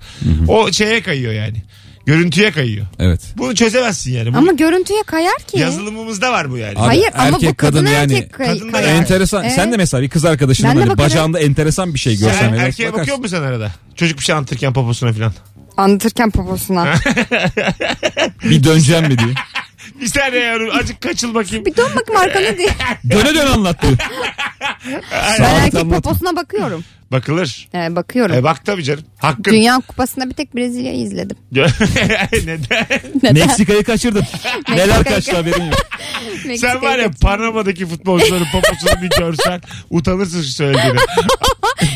[SPEAKER 2] o şeye kayıyor yani. Görüntüye kayıyor.
[SPEAKER 4] Evet.
[SPEAKER 2] Bunu çözemezsin yani. Bu
[SPEAKER 3] Ama görüntüye kayar ki.
[SPEAKER 2] yazılımımızda var bu yani.
[SPEAKER 4] Abi,
[SPEAKER 3] Hayır ama
[SPEAKER 4] erkek,
[SPEAKER 3] bu kadın,
[SPEAKER 4] kadın yani.
[SPEAKER 3] erkek kay-
[SPEAKER 2] Kadın da
[SPEAKER 3] kayar.
[SPEAKER 2] yani.
[SPEAKER 4] Enteresan.
[SPEAKER 3] Evet.
[SPEAKER 4] Sen de mesela bir kız arkadaşının
[SPEAKER 3] Ben de
[SPEAKER 4] hani
[SPEAKER 3] bakarım.
[SPEAKER 4] bacağında enteresan bir şey
[SPEAKER 2] Sen
[SPEAKER 4] görsen. biraz
[SPEAKER 2] erkeğe
[SPEAKER 4] bakarsın.
[SPEAKER 2] bakıyor musun sen arada? Çocuk bir şey anlatırken poposuna falan.
[SPEAKER 3] Anlatırken poposuna.
[SPEAKER 4] Bir döneceğim mi diye.
[SPEAKER 2] Bir saniye yavrum azıcık kaçıl bakayım.
[SPEAKER 3] bir dön bakayım arkana diye.
[SPEAKER 4] Döne dön anlattı.
[SPEAKER 3] Ben
[SPEAKER 4] Sağlıklı
[SPEAKER 3] erkek
[SPEAKER 4] anlatma.
[SPEAKER 3] poposuna bakıyorum.
[SPEAKER 2] Bakılır.
[SPEAKER 3] Ee, bakıyorum.
[SPEAKER 2] E bak tabii canım. Hakkın.
[SPEAKER 3] Dünya Kupası'nda bir tek Brezilya'yı izledim.
[SPEAKER 2] Neden?
[SPEAKER 4] Meksika'yı kaçırdın. Neler kaçtı haberin yok.
[SPEAKER 2] Sen var
[SPEAKER 3] Meksika'yı
[SPEAKER 2] ya Panama'daki futbolcuların poposunu bir görsen utanırsın şu söylediğine.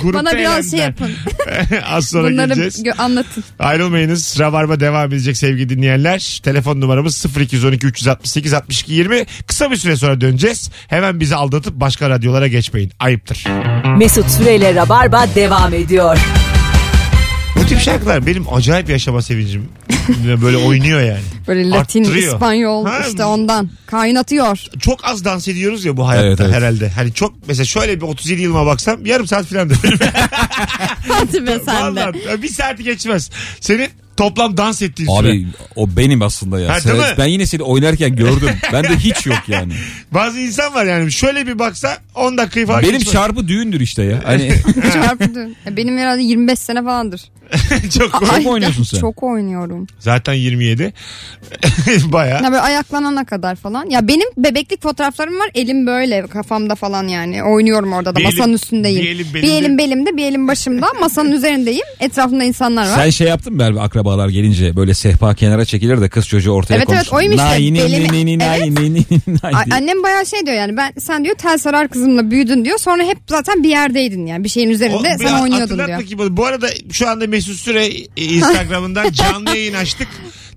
[SPEAKER 2] Grupta
[SPEAKER 3] Bana biraz şey
[SPEAKER 2] elendiler.
[SPEAKER 3] yapın.
[SPEAKER 2] Az sonra
[SPEAKER 3] Bunları
[SPEAKER 2] geleceğiz.
[SPEAKER 3] gö- anlatın.
[SPEAKER 2] Ayrılmayınız. Rabarba devam edecek sevgili dinleyenler. Telefon numaramız 0212 368 62 20. Kısa bir süre sonra döneceğiz. Hemen bizi aldatıp başka radyolara geçmeyin. Ayıptır.
[SPEAKER 1] Mesut Süreyle Rabarba devam ediyor.
[SPEAKER 2] Bu tip şarkılar benim acayip yaşama sevincim. Böyle oynuyor yani.
[SPEAKER 3] Böyle Latin,
[SPEAKER 2] Arttırıyor.
[SPEAKER 3] İspanyol
[SPEAKER 2] Ha,
[SPEAKER 3] işte ondan. Kaynatıyor.
[SPEAKER 2] Çok az dans ediyoruz ya bu hayatta
[SPEAKER 4] Evet, evet.
[SPEAKER 2] herhalde. Hani çok mesela şöyle bir 37 yılıma baksam yarım saat filan dönerim.
[SPEAKER 3] Hadi be sen de.
[SPEAKER 2] Vallahi bir saati geçmez. Senin toplam dans ettiğin süre.
[SPEAKER 4] Abi o benim aslında ya.
[SPEAKER 2] Ha,
[SPEAKER 4] Sen-
[SPEAKER 2] değil mi?
[SPEAKER 4] ben yine seni oynarken gördüm. Bende hiç yok yani.
[SPEAKER 2] Bazı insan var yani şöyle bir baksa 10 dakikayı falan
[SPEAKER 4] Benim
[SPEAKER 2] geçmez.
[SPEAKER 4] çarpı düğündür işte ya. Hani
[SPEAKER 3] Çarpıdın. E, Benim herhalde 25 sene falandır.
[SPEAKER 2] çok
[SPEAKER 4] Çok
[SPEAKER 3] Ay,
[SPEAKER 4] mu oynuyorsun sen?
[SPEAKER 3] Çok oynuyorum.
[SPEAKER 2] Zaten 27. Baya.
[SPEAKER 3] Ya böyle ayaklanana kadar falan. Ya benim bebeklik fotoğraflarım var. Elim böyle kafamda falan yani. Oynuyorum orada da
[SPEAKER 2] Bir elim-
[SPEAKER 3] masanın üstündeyim.
[SPEAKER 2] bir elim
[SPEAKER 3] bir
[SPEAKER 2] belinde.
[SPEAKER 3] elim belimde, bir elim başımda. Masanın üzerindeyim. Etrafımda insanlar var.
[SPEAKER 4] sen şey yaptın mı Merve akrabalar gelince böyle sehpa kenara çekilir de kız çocuğu ortaya
[SPEAKER 3] Evet,
[SPEAKER 4] konuşur.
[SPEAKER 3] evet, oymuş ya.
[SPEAKER 4] Nay, ni, ni,
[SPEAKER 3] Elimi-
[SPEAKER 4] ni, ni, nay,
[SPEAKER 3] Evet.
[SPEAKER 4] ni, ni, ni, nay
[SPEAKER 3] A-
[SPEAKER 4] diye.
[SPEAKER 3] annem bayağı şey diyor yani ben sen diyor tel sarar kızımla büyüdün diyor. Sonra hep zaten bir yerdeydin yani. Bir şeyin
[SPEAKER 2] O-
[SPEAKER 3] üzerinde
[SPEAKER 2] bir
[SPEAKER 3] sen oynuyordun
[SPEAKER 2] hatırlat
[SPEAKER 3] diyor.
[SPEAKER 2] bakayım bana. Bu arada şu anda Mesut Süre e, Instagram'ından canlı yayın açtık.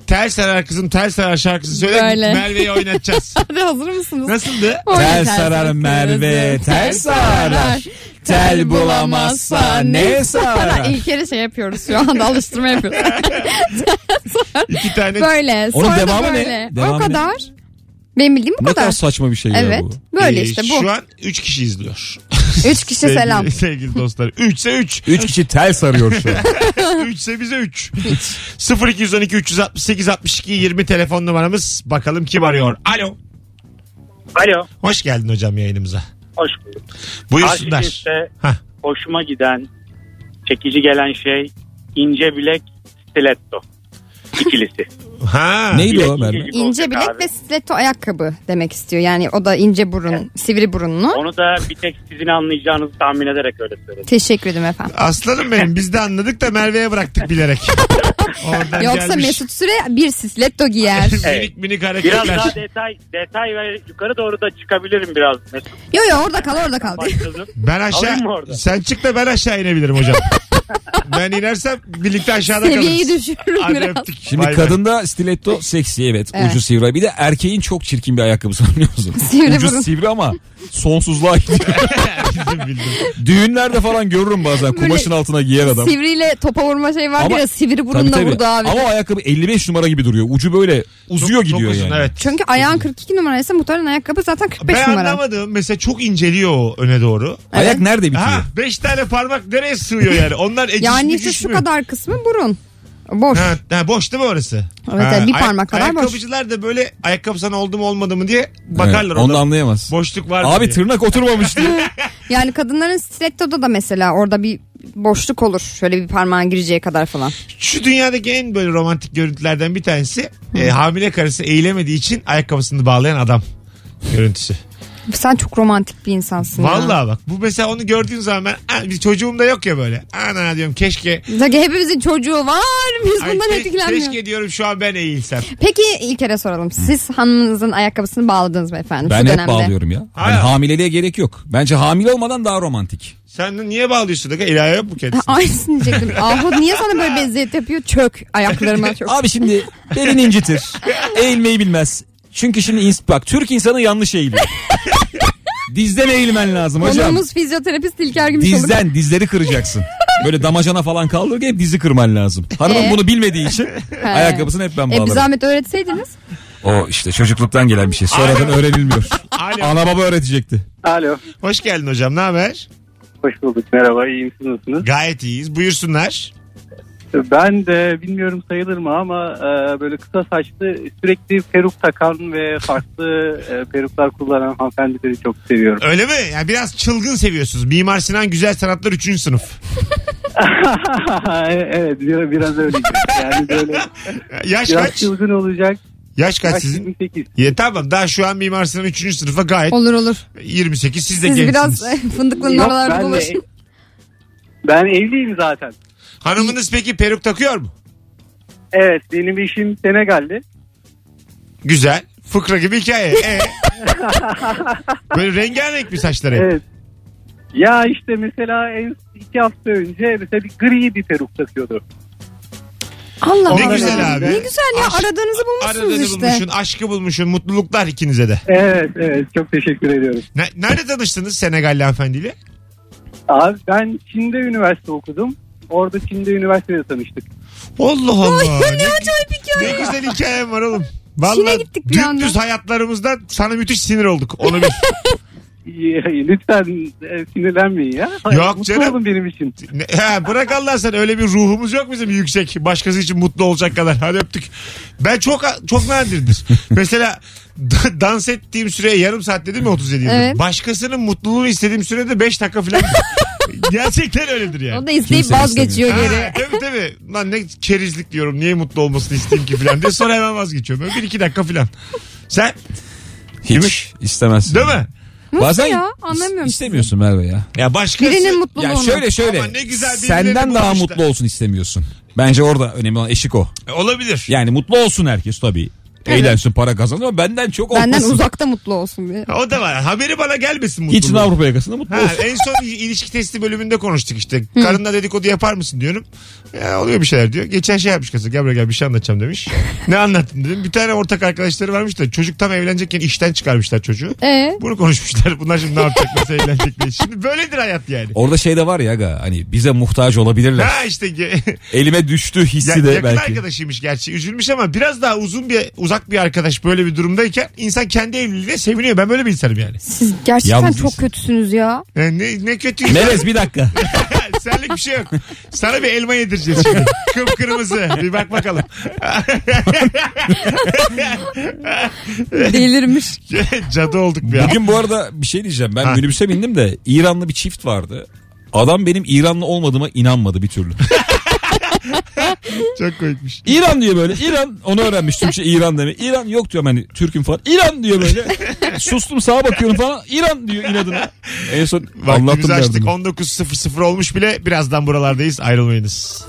[SPEAKER 2] Tel sarar kızım tel sarar şarkısı söyle
[SPEAKER 3] Böyle.
[SPEAKER 2] Merve'yi oynatacağız.
[SPEAKER 3] Hadi hazır mısınız?
[SPEAKER 2] Nasıldı?
[SPEAKER 3] Oyna
[SPEAKER 4] Tel
[SPEAKER 3] tel
[SPEAKER 4] sarar Merve,
[SPEAKER 3] kızım,
[SPEAKER 4] tel sarar. Tel bulamazsa ne sarar?
[SPEAKER 3] İlk kere şey yapıyoruz şu anda alıştırma yapıyoruz.
[SPEAKER 2] İki tane
[SPEAKER 3] Böyle.
[SPEAKER 4] Onun
[SPEAKER 3] sonra da
[SPEAKER 4] devamı ne?
[SPEAKER 3] böyle.
[SPEAKER 4] Devamı
[SPEAKER 3] o
[SPEAKER 4] ne?
[SPEAKER 3] kadar. Benim bildiğim bu
[SPEAKER 4] Ne kadar
[SPEAKER 3] kadar.
[SPEAKER 4] saçma bir şey ya
[SPEAKER 3] Evet.
[SPEAKER 4] bu.
[SPEAKER 3] Böyle
[SPEAKER 2] e,
[SPEAKER 3] işte bu.
[SPEAKER 2] Şu an 3 kişi izliyor.
[SPEAKER 3] Üç kişi
[SPEAKER 2] Sevgili-
[SPEAKER 3] selam.
[SPEAKER 2] Sevgili dostlar. 3 ise 3.
[SPEAKER 4] Üç kişi tel sarıyor şu an.
[SPEAKER 2] 3 ise bize 3. 0212 368 62 20 telefon numaramız. Bakalım kim arıyor. Alo.
[SPEAKER 6] Alo.
[SPEAKER 2] Hoş geldin hocam yayınımıza.
[SPEAKER 8] Hoş bulduk. Karşı
[SPEAKER 2] Buyursunlar.
[SPEAKER 8] cinste
[SPEAKER 2] Hah.
[SPEAKER 8] hoşuma giden, çekici gelen şey ince bilek stiletto ikilisi.
[SPEAKER 2] Ha.
[SPEAKER 4] Neydi
[SPEAKER 8] Bilek
[SPEAKER 4] o
[SPEAKER 8] ince
[SPEAKER 4] Merve?
[SPEAKER 8] gibi
[SPEAKER 3] İnce
[SPEAKER 8] olacak
[SPEAKER 3] bilek
[SPEAKER 8] abi.
[SPEAKER 3] ve stiletto ayakkabı demek istiyor. Yani o da ince burun, sivri burunlu.
[SPEAKER 8] Onu da bir tek sizin anlayacağınızı tahmin ederek öyle söyledim.
[SPEAKER 3] Teşekkür ederim efendim.
[SPEAKER 2] Aslanım benim biz de anladık da Merve'ye bıraktık bilerek. Oradan
[SPEAKER 3] Yoksa
[SPEAKER 2] gelmiş.
[SPEAKER 3] Mesut Süre bir stiletto giyer.
[SPEAKER 2] minik minik hareketler.
[SPEAKER 8] Biraz daha detay detay ve yukarı doğru da çıkabilirim biraz. Mesut
[SPEAKER 3] yo yo orada kal orada kal.
[SPEAKER 8] başladım.
[SPEAKER 2] Ben
[SPEAKER 8] Alayım mı orada?
[SPEAKER 2] aşağı sen çık da ben aşağı inebilirim hocam. ben inersem birlikte aşağıda
[SPEAKER 3] Seviyeyi
[SPEAKER 2] kalırız.
[SPEAKER 3] düşürürüm
[SPEAKER 2] Hadi
[SPEAKER 3] biraz.
[SPEAKER 2] öptük.
[SPEAKER 4] Şimdi
[SPEAKER 2] Bay bay.
[SPEAKER 4] kadında stiletto seksi evet,
[SPEAKER 3] Evet.
[SPEAKER 4] ucu sivri. Bir de erkeğin çok çirkin bir ayakkabısı var biliyor musun?
[SPEAKER 3] Sivri
[SPEAKER 4] ucu
[SPEAKER 3] burun.
[SPEAKER 4] sivri ama sonsuzluğa gidiyor.
[SPEAKER 2] Bildim, bildim.
[SPEAKER 4] Düğünlerde falan görürüm bazen
[SPEAKER 3] Böyle
[SPEAKER 4] kumaşın altına giyer adam.
[SPEAKER 3] Sivriyle topa vurma şey var
[SPEAKER 4] Ama-
[SPEAKER 3] ya sivri
[SPEAKER 4] Tabii,
[SPEAKER 3] burunla
[SPEAKER 4] tabii.
[SPEAKER 3] vurdu abi.
[SPEAKER 4] Ama o ayakkabı 55 numara gibi duruyor. Ucu böyle uzuyor
[SPEAKER 2] Çok-
[SPEAKER 4] gidiyor
[SPEAKER 2] çok uzun,
[SPEAKER 4] yani.
[SPEAKER 2] Evet.
[SPEAKER 3] Çünkü ayağın 42 numaraysa muhtemelen ayakkabı zaten 45
[SPEAKER 2] Ben
[SPEAKER 3] numara.
[SPEAKER 2] anlamadım. Mesela çok inceliyor o öne doğru.
[SPEAKER 4] Ayak nerede bitiyor?
[SPEAKER 2] Ha, beş tane parmak nereye sığıyor yani? Onlar ekşi
[SPEAKER 3] Yani
[SPEAKER 2] mi,
[SPEAKER 3] işte
[SPEAKER 2] güç
[SPEAKER 3] şu
[SPEAKER 2] mü?
[SPEAKER 3] kadar kısmı burun. Boş.
[SPEAKER 2] Ha, ha, boş değil mi orası?
[SPEAKER 3] Evet,
[SPEAKER 2] Ha,
[SPEAKER 3] evet, bir
[SPEAKER 2] ayak-
[SPEAKER 3] parmak kadar boş.
[SPEAKER 2] Ayakkabıcılar da böyle ayakkabı sana oldu mu olmadı mı diye
[SPEAKER 4] Evet,
[SPEAKER 2] bakarlar
[SPEAKER 4] Onu da
[SPEAKER 2] ona.
[SPEAKER 4] anlayamaz.
[SPEAKER 2] Boşluk var mı
[SPEAKER 4] Abi
[SPEAKER 2] diye.
[SPEAKER 4] tırnak oturmamış diye.
[SPEAKER 3] Yani kadınların stilettoda da mesela orada bir boşluk olur. Şöyle bir parmağın gireceği kadar falan.
[SPEAKER 2] Şu dünyadaki en böyle romantik görüntülerden bir tanesi e, hamile karısı eğilemediği için ayakkabısını bağlayan adam görüntüsü.
[SPEAKER 3] Sen çok romantik bir insansın ya.
[SPEAKER 2] Vallahi bak bu mesela onu gördüğün zaman ben ha, bir çocuğum da yok ya böyle. Ana diyorum keşke
[SPEAKER 3] Zaten hepimizin çocuğu var. Biz
[SPEAKER 2] ay,
[SPEAKER 3] bundan
[SPEAKER 2] ke-
[SPEAKER 3] etkilenmiyoruz.
[SPEAKER 2] keşke diyorum şu an ben eğilsem.
[SPEAKER 3] Peki ilk kere soralım. Siz hanımınızın ayakkabısını bağladınız mı efendim?
[SPEAKER 4] ben
[SPEAKER 3] şu
[SPEAKER 4] hep
[SPEAKER 3] dönemde?
[SPEAKER 4] bağlıyorum ya. Hani
[SPEAKER 2] Hayır.
[SPEAKER 4] hamileliğe gerek yok. Bence hamile olmadan daha romantik.
[SPEAKER 2] Sen de niye bağlıyorsun? Dakika, İlahi yok mu
[SPEAKER 3] Ha,
[SPEAKER 2] kendisi?
[SPEAKER 3] Aynısını diyecektim. Ahu niye sana böyle beziyet yapıyor? Çök ayaklarıma çök.
[SPEAKER 4] Abi şimdi belini incitir. Eğilmeyi bilmez. Çünkü şimdi ins- bak Türk insanı yanlış eğiliyor. Dizden eğilmen lazım hocam.
[SPEAKER 3] Konuğumuz fizyoterapist İlker Gümüşoluk.
[SPEAKER 4] Dizden dizleri kıracaksın. Böyle damacana falan kaldır hep dizi kırman lazım. Hanımın
[SPEAKER 3] Ee?
[SPEAKER 4] bunu bilmediği için ayakkabısını hep ben
[SPEAKER 3] E, bir
[SPEAKER 4] bağlarım.
[SPEAKER 3] zahmet öğretseydiniz.
[SPEAKER 4] O işte çocukluktan gelen bir şey. Sonradan öğrenilmiyor.
[SPEAKER 2] Alo.
[SPEAKER 4] Ana baba öğretecekti.
[SPEAKER 9] Alo.
[SPEAKER 2] Hoş geldin hocam. Ne haber?
[SPEAKER 9] Hoş bulduk. Merhaba. İyiyim. Siz nasılsınız?
[SPEAKER 2] Gayet iyiyiz. Buyursunlar.
[SPEAKER 9] Ben de bilmiyorum sayılır mı ama e, böyle kısa saçlı sürekli peruk takan ve farklı e, peruklar kullanan hanımefendileri çok seviyorum.
[SPEAKER 2] Öyle mi? Yani biraz çılgın seviyorsunuz. Mimar Sinan Güzel Sanatlar 3. sınıf.
[SPEAKER 9] evet biraz, biraz öyle. Yani böyle
[SPEAKER 2] Yaş
[SPEAKER 9] biraz
[SPEAKER 2] kaç?
[SPEAKER 9] çılgın olacak.
[SPEAKER 2] Yaş kaç
[SPEAKER 9] Kaç
[SPEAKER 2] sizin?
[SPEAKER 9] 28.
[SPEAKER 2] Ya tamam daha şu an Mimar Sinan 3. sınıfa gayet
[SPEAKER 3] Olur olur.
[SPEAKER 2] 28. Siz de
[SPEAKER 3] Siz
[SPEAKER 2] gençsiniz.
[SPEAKER 3] biraz fındıklının
[SPEAKER 9] Yok,
[SPEAKER 3] oralarda
[SPEAKER 9] ben, de-
[SPEAKER 3] dolaşın.
[SPEAKER 9] ben evliyim zaten.
[SPEAKER 2] Hanımınız peki peruk takıyor mu?
[SPEAKER 9] Evet benim eşim Senegalli.
[SPEAKER 2] Güzel. Fıkra gibi hikaye. Ee? Böyle rengarenk mi saçları?
[SPEAKER 9] Evet. Ya işte mesela en iki hafta önce mesela bir gri bir peruk takıyordu.
[SPEAKER 3] Allah
[SPEAKER 2] Ne
[SPEAKER 3] Allah.
[SPEAKER 2] güzel abi.
[SPEAKER 3] Ne güzel ya aradığınızı bulmuşsunuz
[SPEAKER 2] Aradığını
[SPEAKER 3] işte.
[SPEAKER 2] bulmuşsun, aşkı bulmuşsun, mutluluklar ikinize de.
[SPEAKER 9] Evet evet çok teşekkür ediyorum.
[SPEAKER 2] Ne- nerede tanıştınız Senegalli hanımefendiyle?
[SPEAKER 9] Abi ben Çin'de üniversite okudum. Orada Çin'de üniversitede tanıştık.
[SPEAKER 2] Allah Allah.
[SPEAKER 3] ne acayip
[SPEAKER 2] Ne
[SPEAKER 3] hikaye.
[SPEAKER 2] güzel hikayem var oğlum. Vallahi
[SPEAKER 3] Çin'e gittik bir
[SPEAKER 2] dümdüz
[SPEAKER 3] anda.
[SPEAKER 2] hayatlarımızda sana müthiş sinir olduk. Onu bil.
[SPEAKER 9] Lütfen e, sinirlenmeyin ya.
[SPEAKER 2] Yok
[SPEAKER 9] Mutlu
[SPEAKER 2] canım.
[SPEAKER 9] olun benim için.
[SPEAKER 2] Ne- He, bırak Allah sen öyle bir ruhumuz yok bizim yüksek. Başkası için mutlu olacak kadar. Hadi öptük. Ben çok çok nadirdir. Mesela da- dans ettiğim süre yarım saat dedim mi 37 yıldır.
[SPEAKER 3] Evet.
[SPEAKER 2] Başkasının mutluluğunu istediğim sürede 5 dakika falan. Gerçekten öyledir yani.
[SPEAKER 3] O da izleyip
[SPEAKER 4] Kimse
[SPEAKER 3] vazgeçiyor
[SPEAKER 2] Ha,
[SPEAKER 3] geri.
[SPEAKER 2] tabii tabii. Lan ne kerizlik diyorum. Niye mutlu olmasını isteyeyim ki falan diye. Sonra hemen vazgeçiyorum. Böyle bir iki dakika falan. Sen
[SPEAKER 4] Hiç istemez.
[SPEAKER 2] değil mi?
[SPEAKER 4] Bazen
[SPEAKER 3] ya? Anlamıyorum
[SPEAKER 4] is- istemiyorsun Merve ya.
[SPEAKER 2] Ya başkası.
[SPEAKER 3] Birinin mutluluğunu.
[SPEAKER 4] Ya şöyle şey şöyle.
[SPEAKER 2] Ama ne güzel birilerini
[SPEAKER 4] senden daha
[SPEAKER 2] bulmuşlar.
[SPEAKER 4] mutlu olsun istemiyorsun. Bence orada önemli olan eşik o.
[SPEAKER 2] Olabilir.
[SPEAKER 4] Yani mutlu olsun herkes tabii. Eğlensin para kazanır ama benden çok olmasın.
[SPEAKER 3] Benden uzakta mutlu olsun diye.
[SPEAKER 2] O da var. Haberi bana gelmesin mutluluğu.
[SPEAKER 4] İçin Avrupa yakasında mutlu
[SPEAKER 2] Ha,
[SPEAKER 4] olsun.
[SPEAKER 2] en son il- ilişki testi bölümünde konuştuk işte. Karınla dedikodu yapar mısın diyorum. Ya, oluyor bir şeyler diyor. Geçen şey yapmış kızı. Gel buraya gel bir şey anlatacağım demiş. ne anlattın dedim. Bir tane ortak arkadaşları varmış da çocuk tam evlenecekken işten çıkarmışlar çocuğu.
[SPEAKER 3] Ee?
[SPEAKER 2] Bunu konuşmuşlar. Bunlar şimdi ne yapacak nasıl evlenecek diye. Şimdi böyledir hayat yani.
[SPEAKER 4] Orada şey de var ya aga hani bize muhtaç olabilirler.
[SPEAKER 2] Ha işte ge-
[SPEAKER 4] Elime düştü
[SPEAKER 2] ya,
[SPEAKER 4] hissi de
[SPEAKER 2] yakın
[SPEAKER 4] belki.
[SPEAKER 2] arkadaşıymış gerçi üzülmüş ama biraz daha uzun bir uzak uzak bir arkadaş böyle bir durumdayken insan kendi evliliğine seviniyor. Ben böyle bir insanım yani.
[SPEAKER 3] Siz gerçekten
[SPEAKER 4] Yalnız
[SPEAKER 3] çok
[SPEAKER 4] değilsin.
[SPEAKER 3] kötüsünüz ya.
[SPEAKER 2] Yani ne, ne kötü insan.
[SPEAKER 4] Melez bir dakika.
[SPEAKER 2] Senlik bir şey yok. Sana bir elma yedireceğiz şimdi. Kıpkırmızı. Bir bak bakalım.
[SPEAKER 3] Delirmiş.
[SPEAKER 2] Cadı olduk bir an.
[SPEAKER 4] Bugün bu arada bir şey diyeceğim. Ben
[SPEAKER 2] Ha.
[SPEAKER 4] minibüse bindim de İranlı bir çift vardı. Adam benim İranlı olmadığıma inanmadı bir türlü.
[SPEAKER 2] Çok koymuş.
[SPEAKER 4] İran diyor böyle. İran onu öğrenmiş Türkçe İran deme. İran yok diyorum hani Türk'üm falan. İran diyor böyle. Sustum sağa bakıyorum falan. İran diyor inadına. En son
[SPEAKER 2] Vaktimizi
[SPEAKER 4] anlattım
[SPEAKER 2] açtık.
[SPEAKER 4] derdim.
[SPEAKER 2] 19.00 olmuş bile. Birazdan buralardayız. Ayrılmayınız.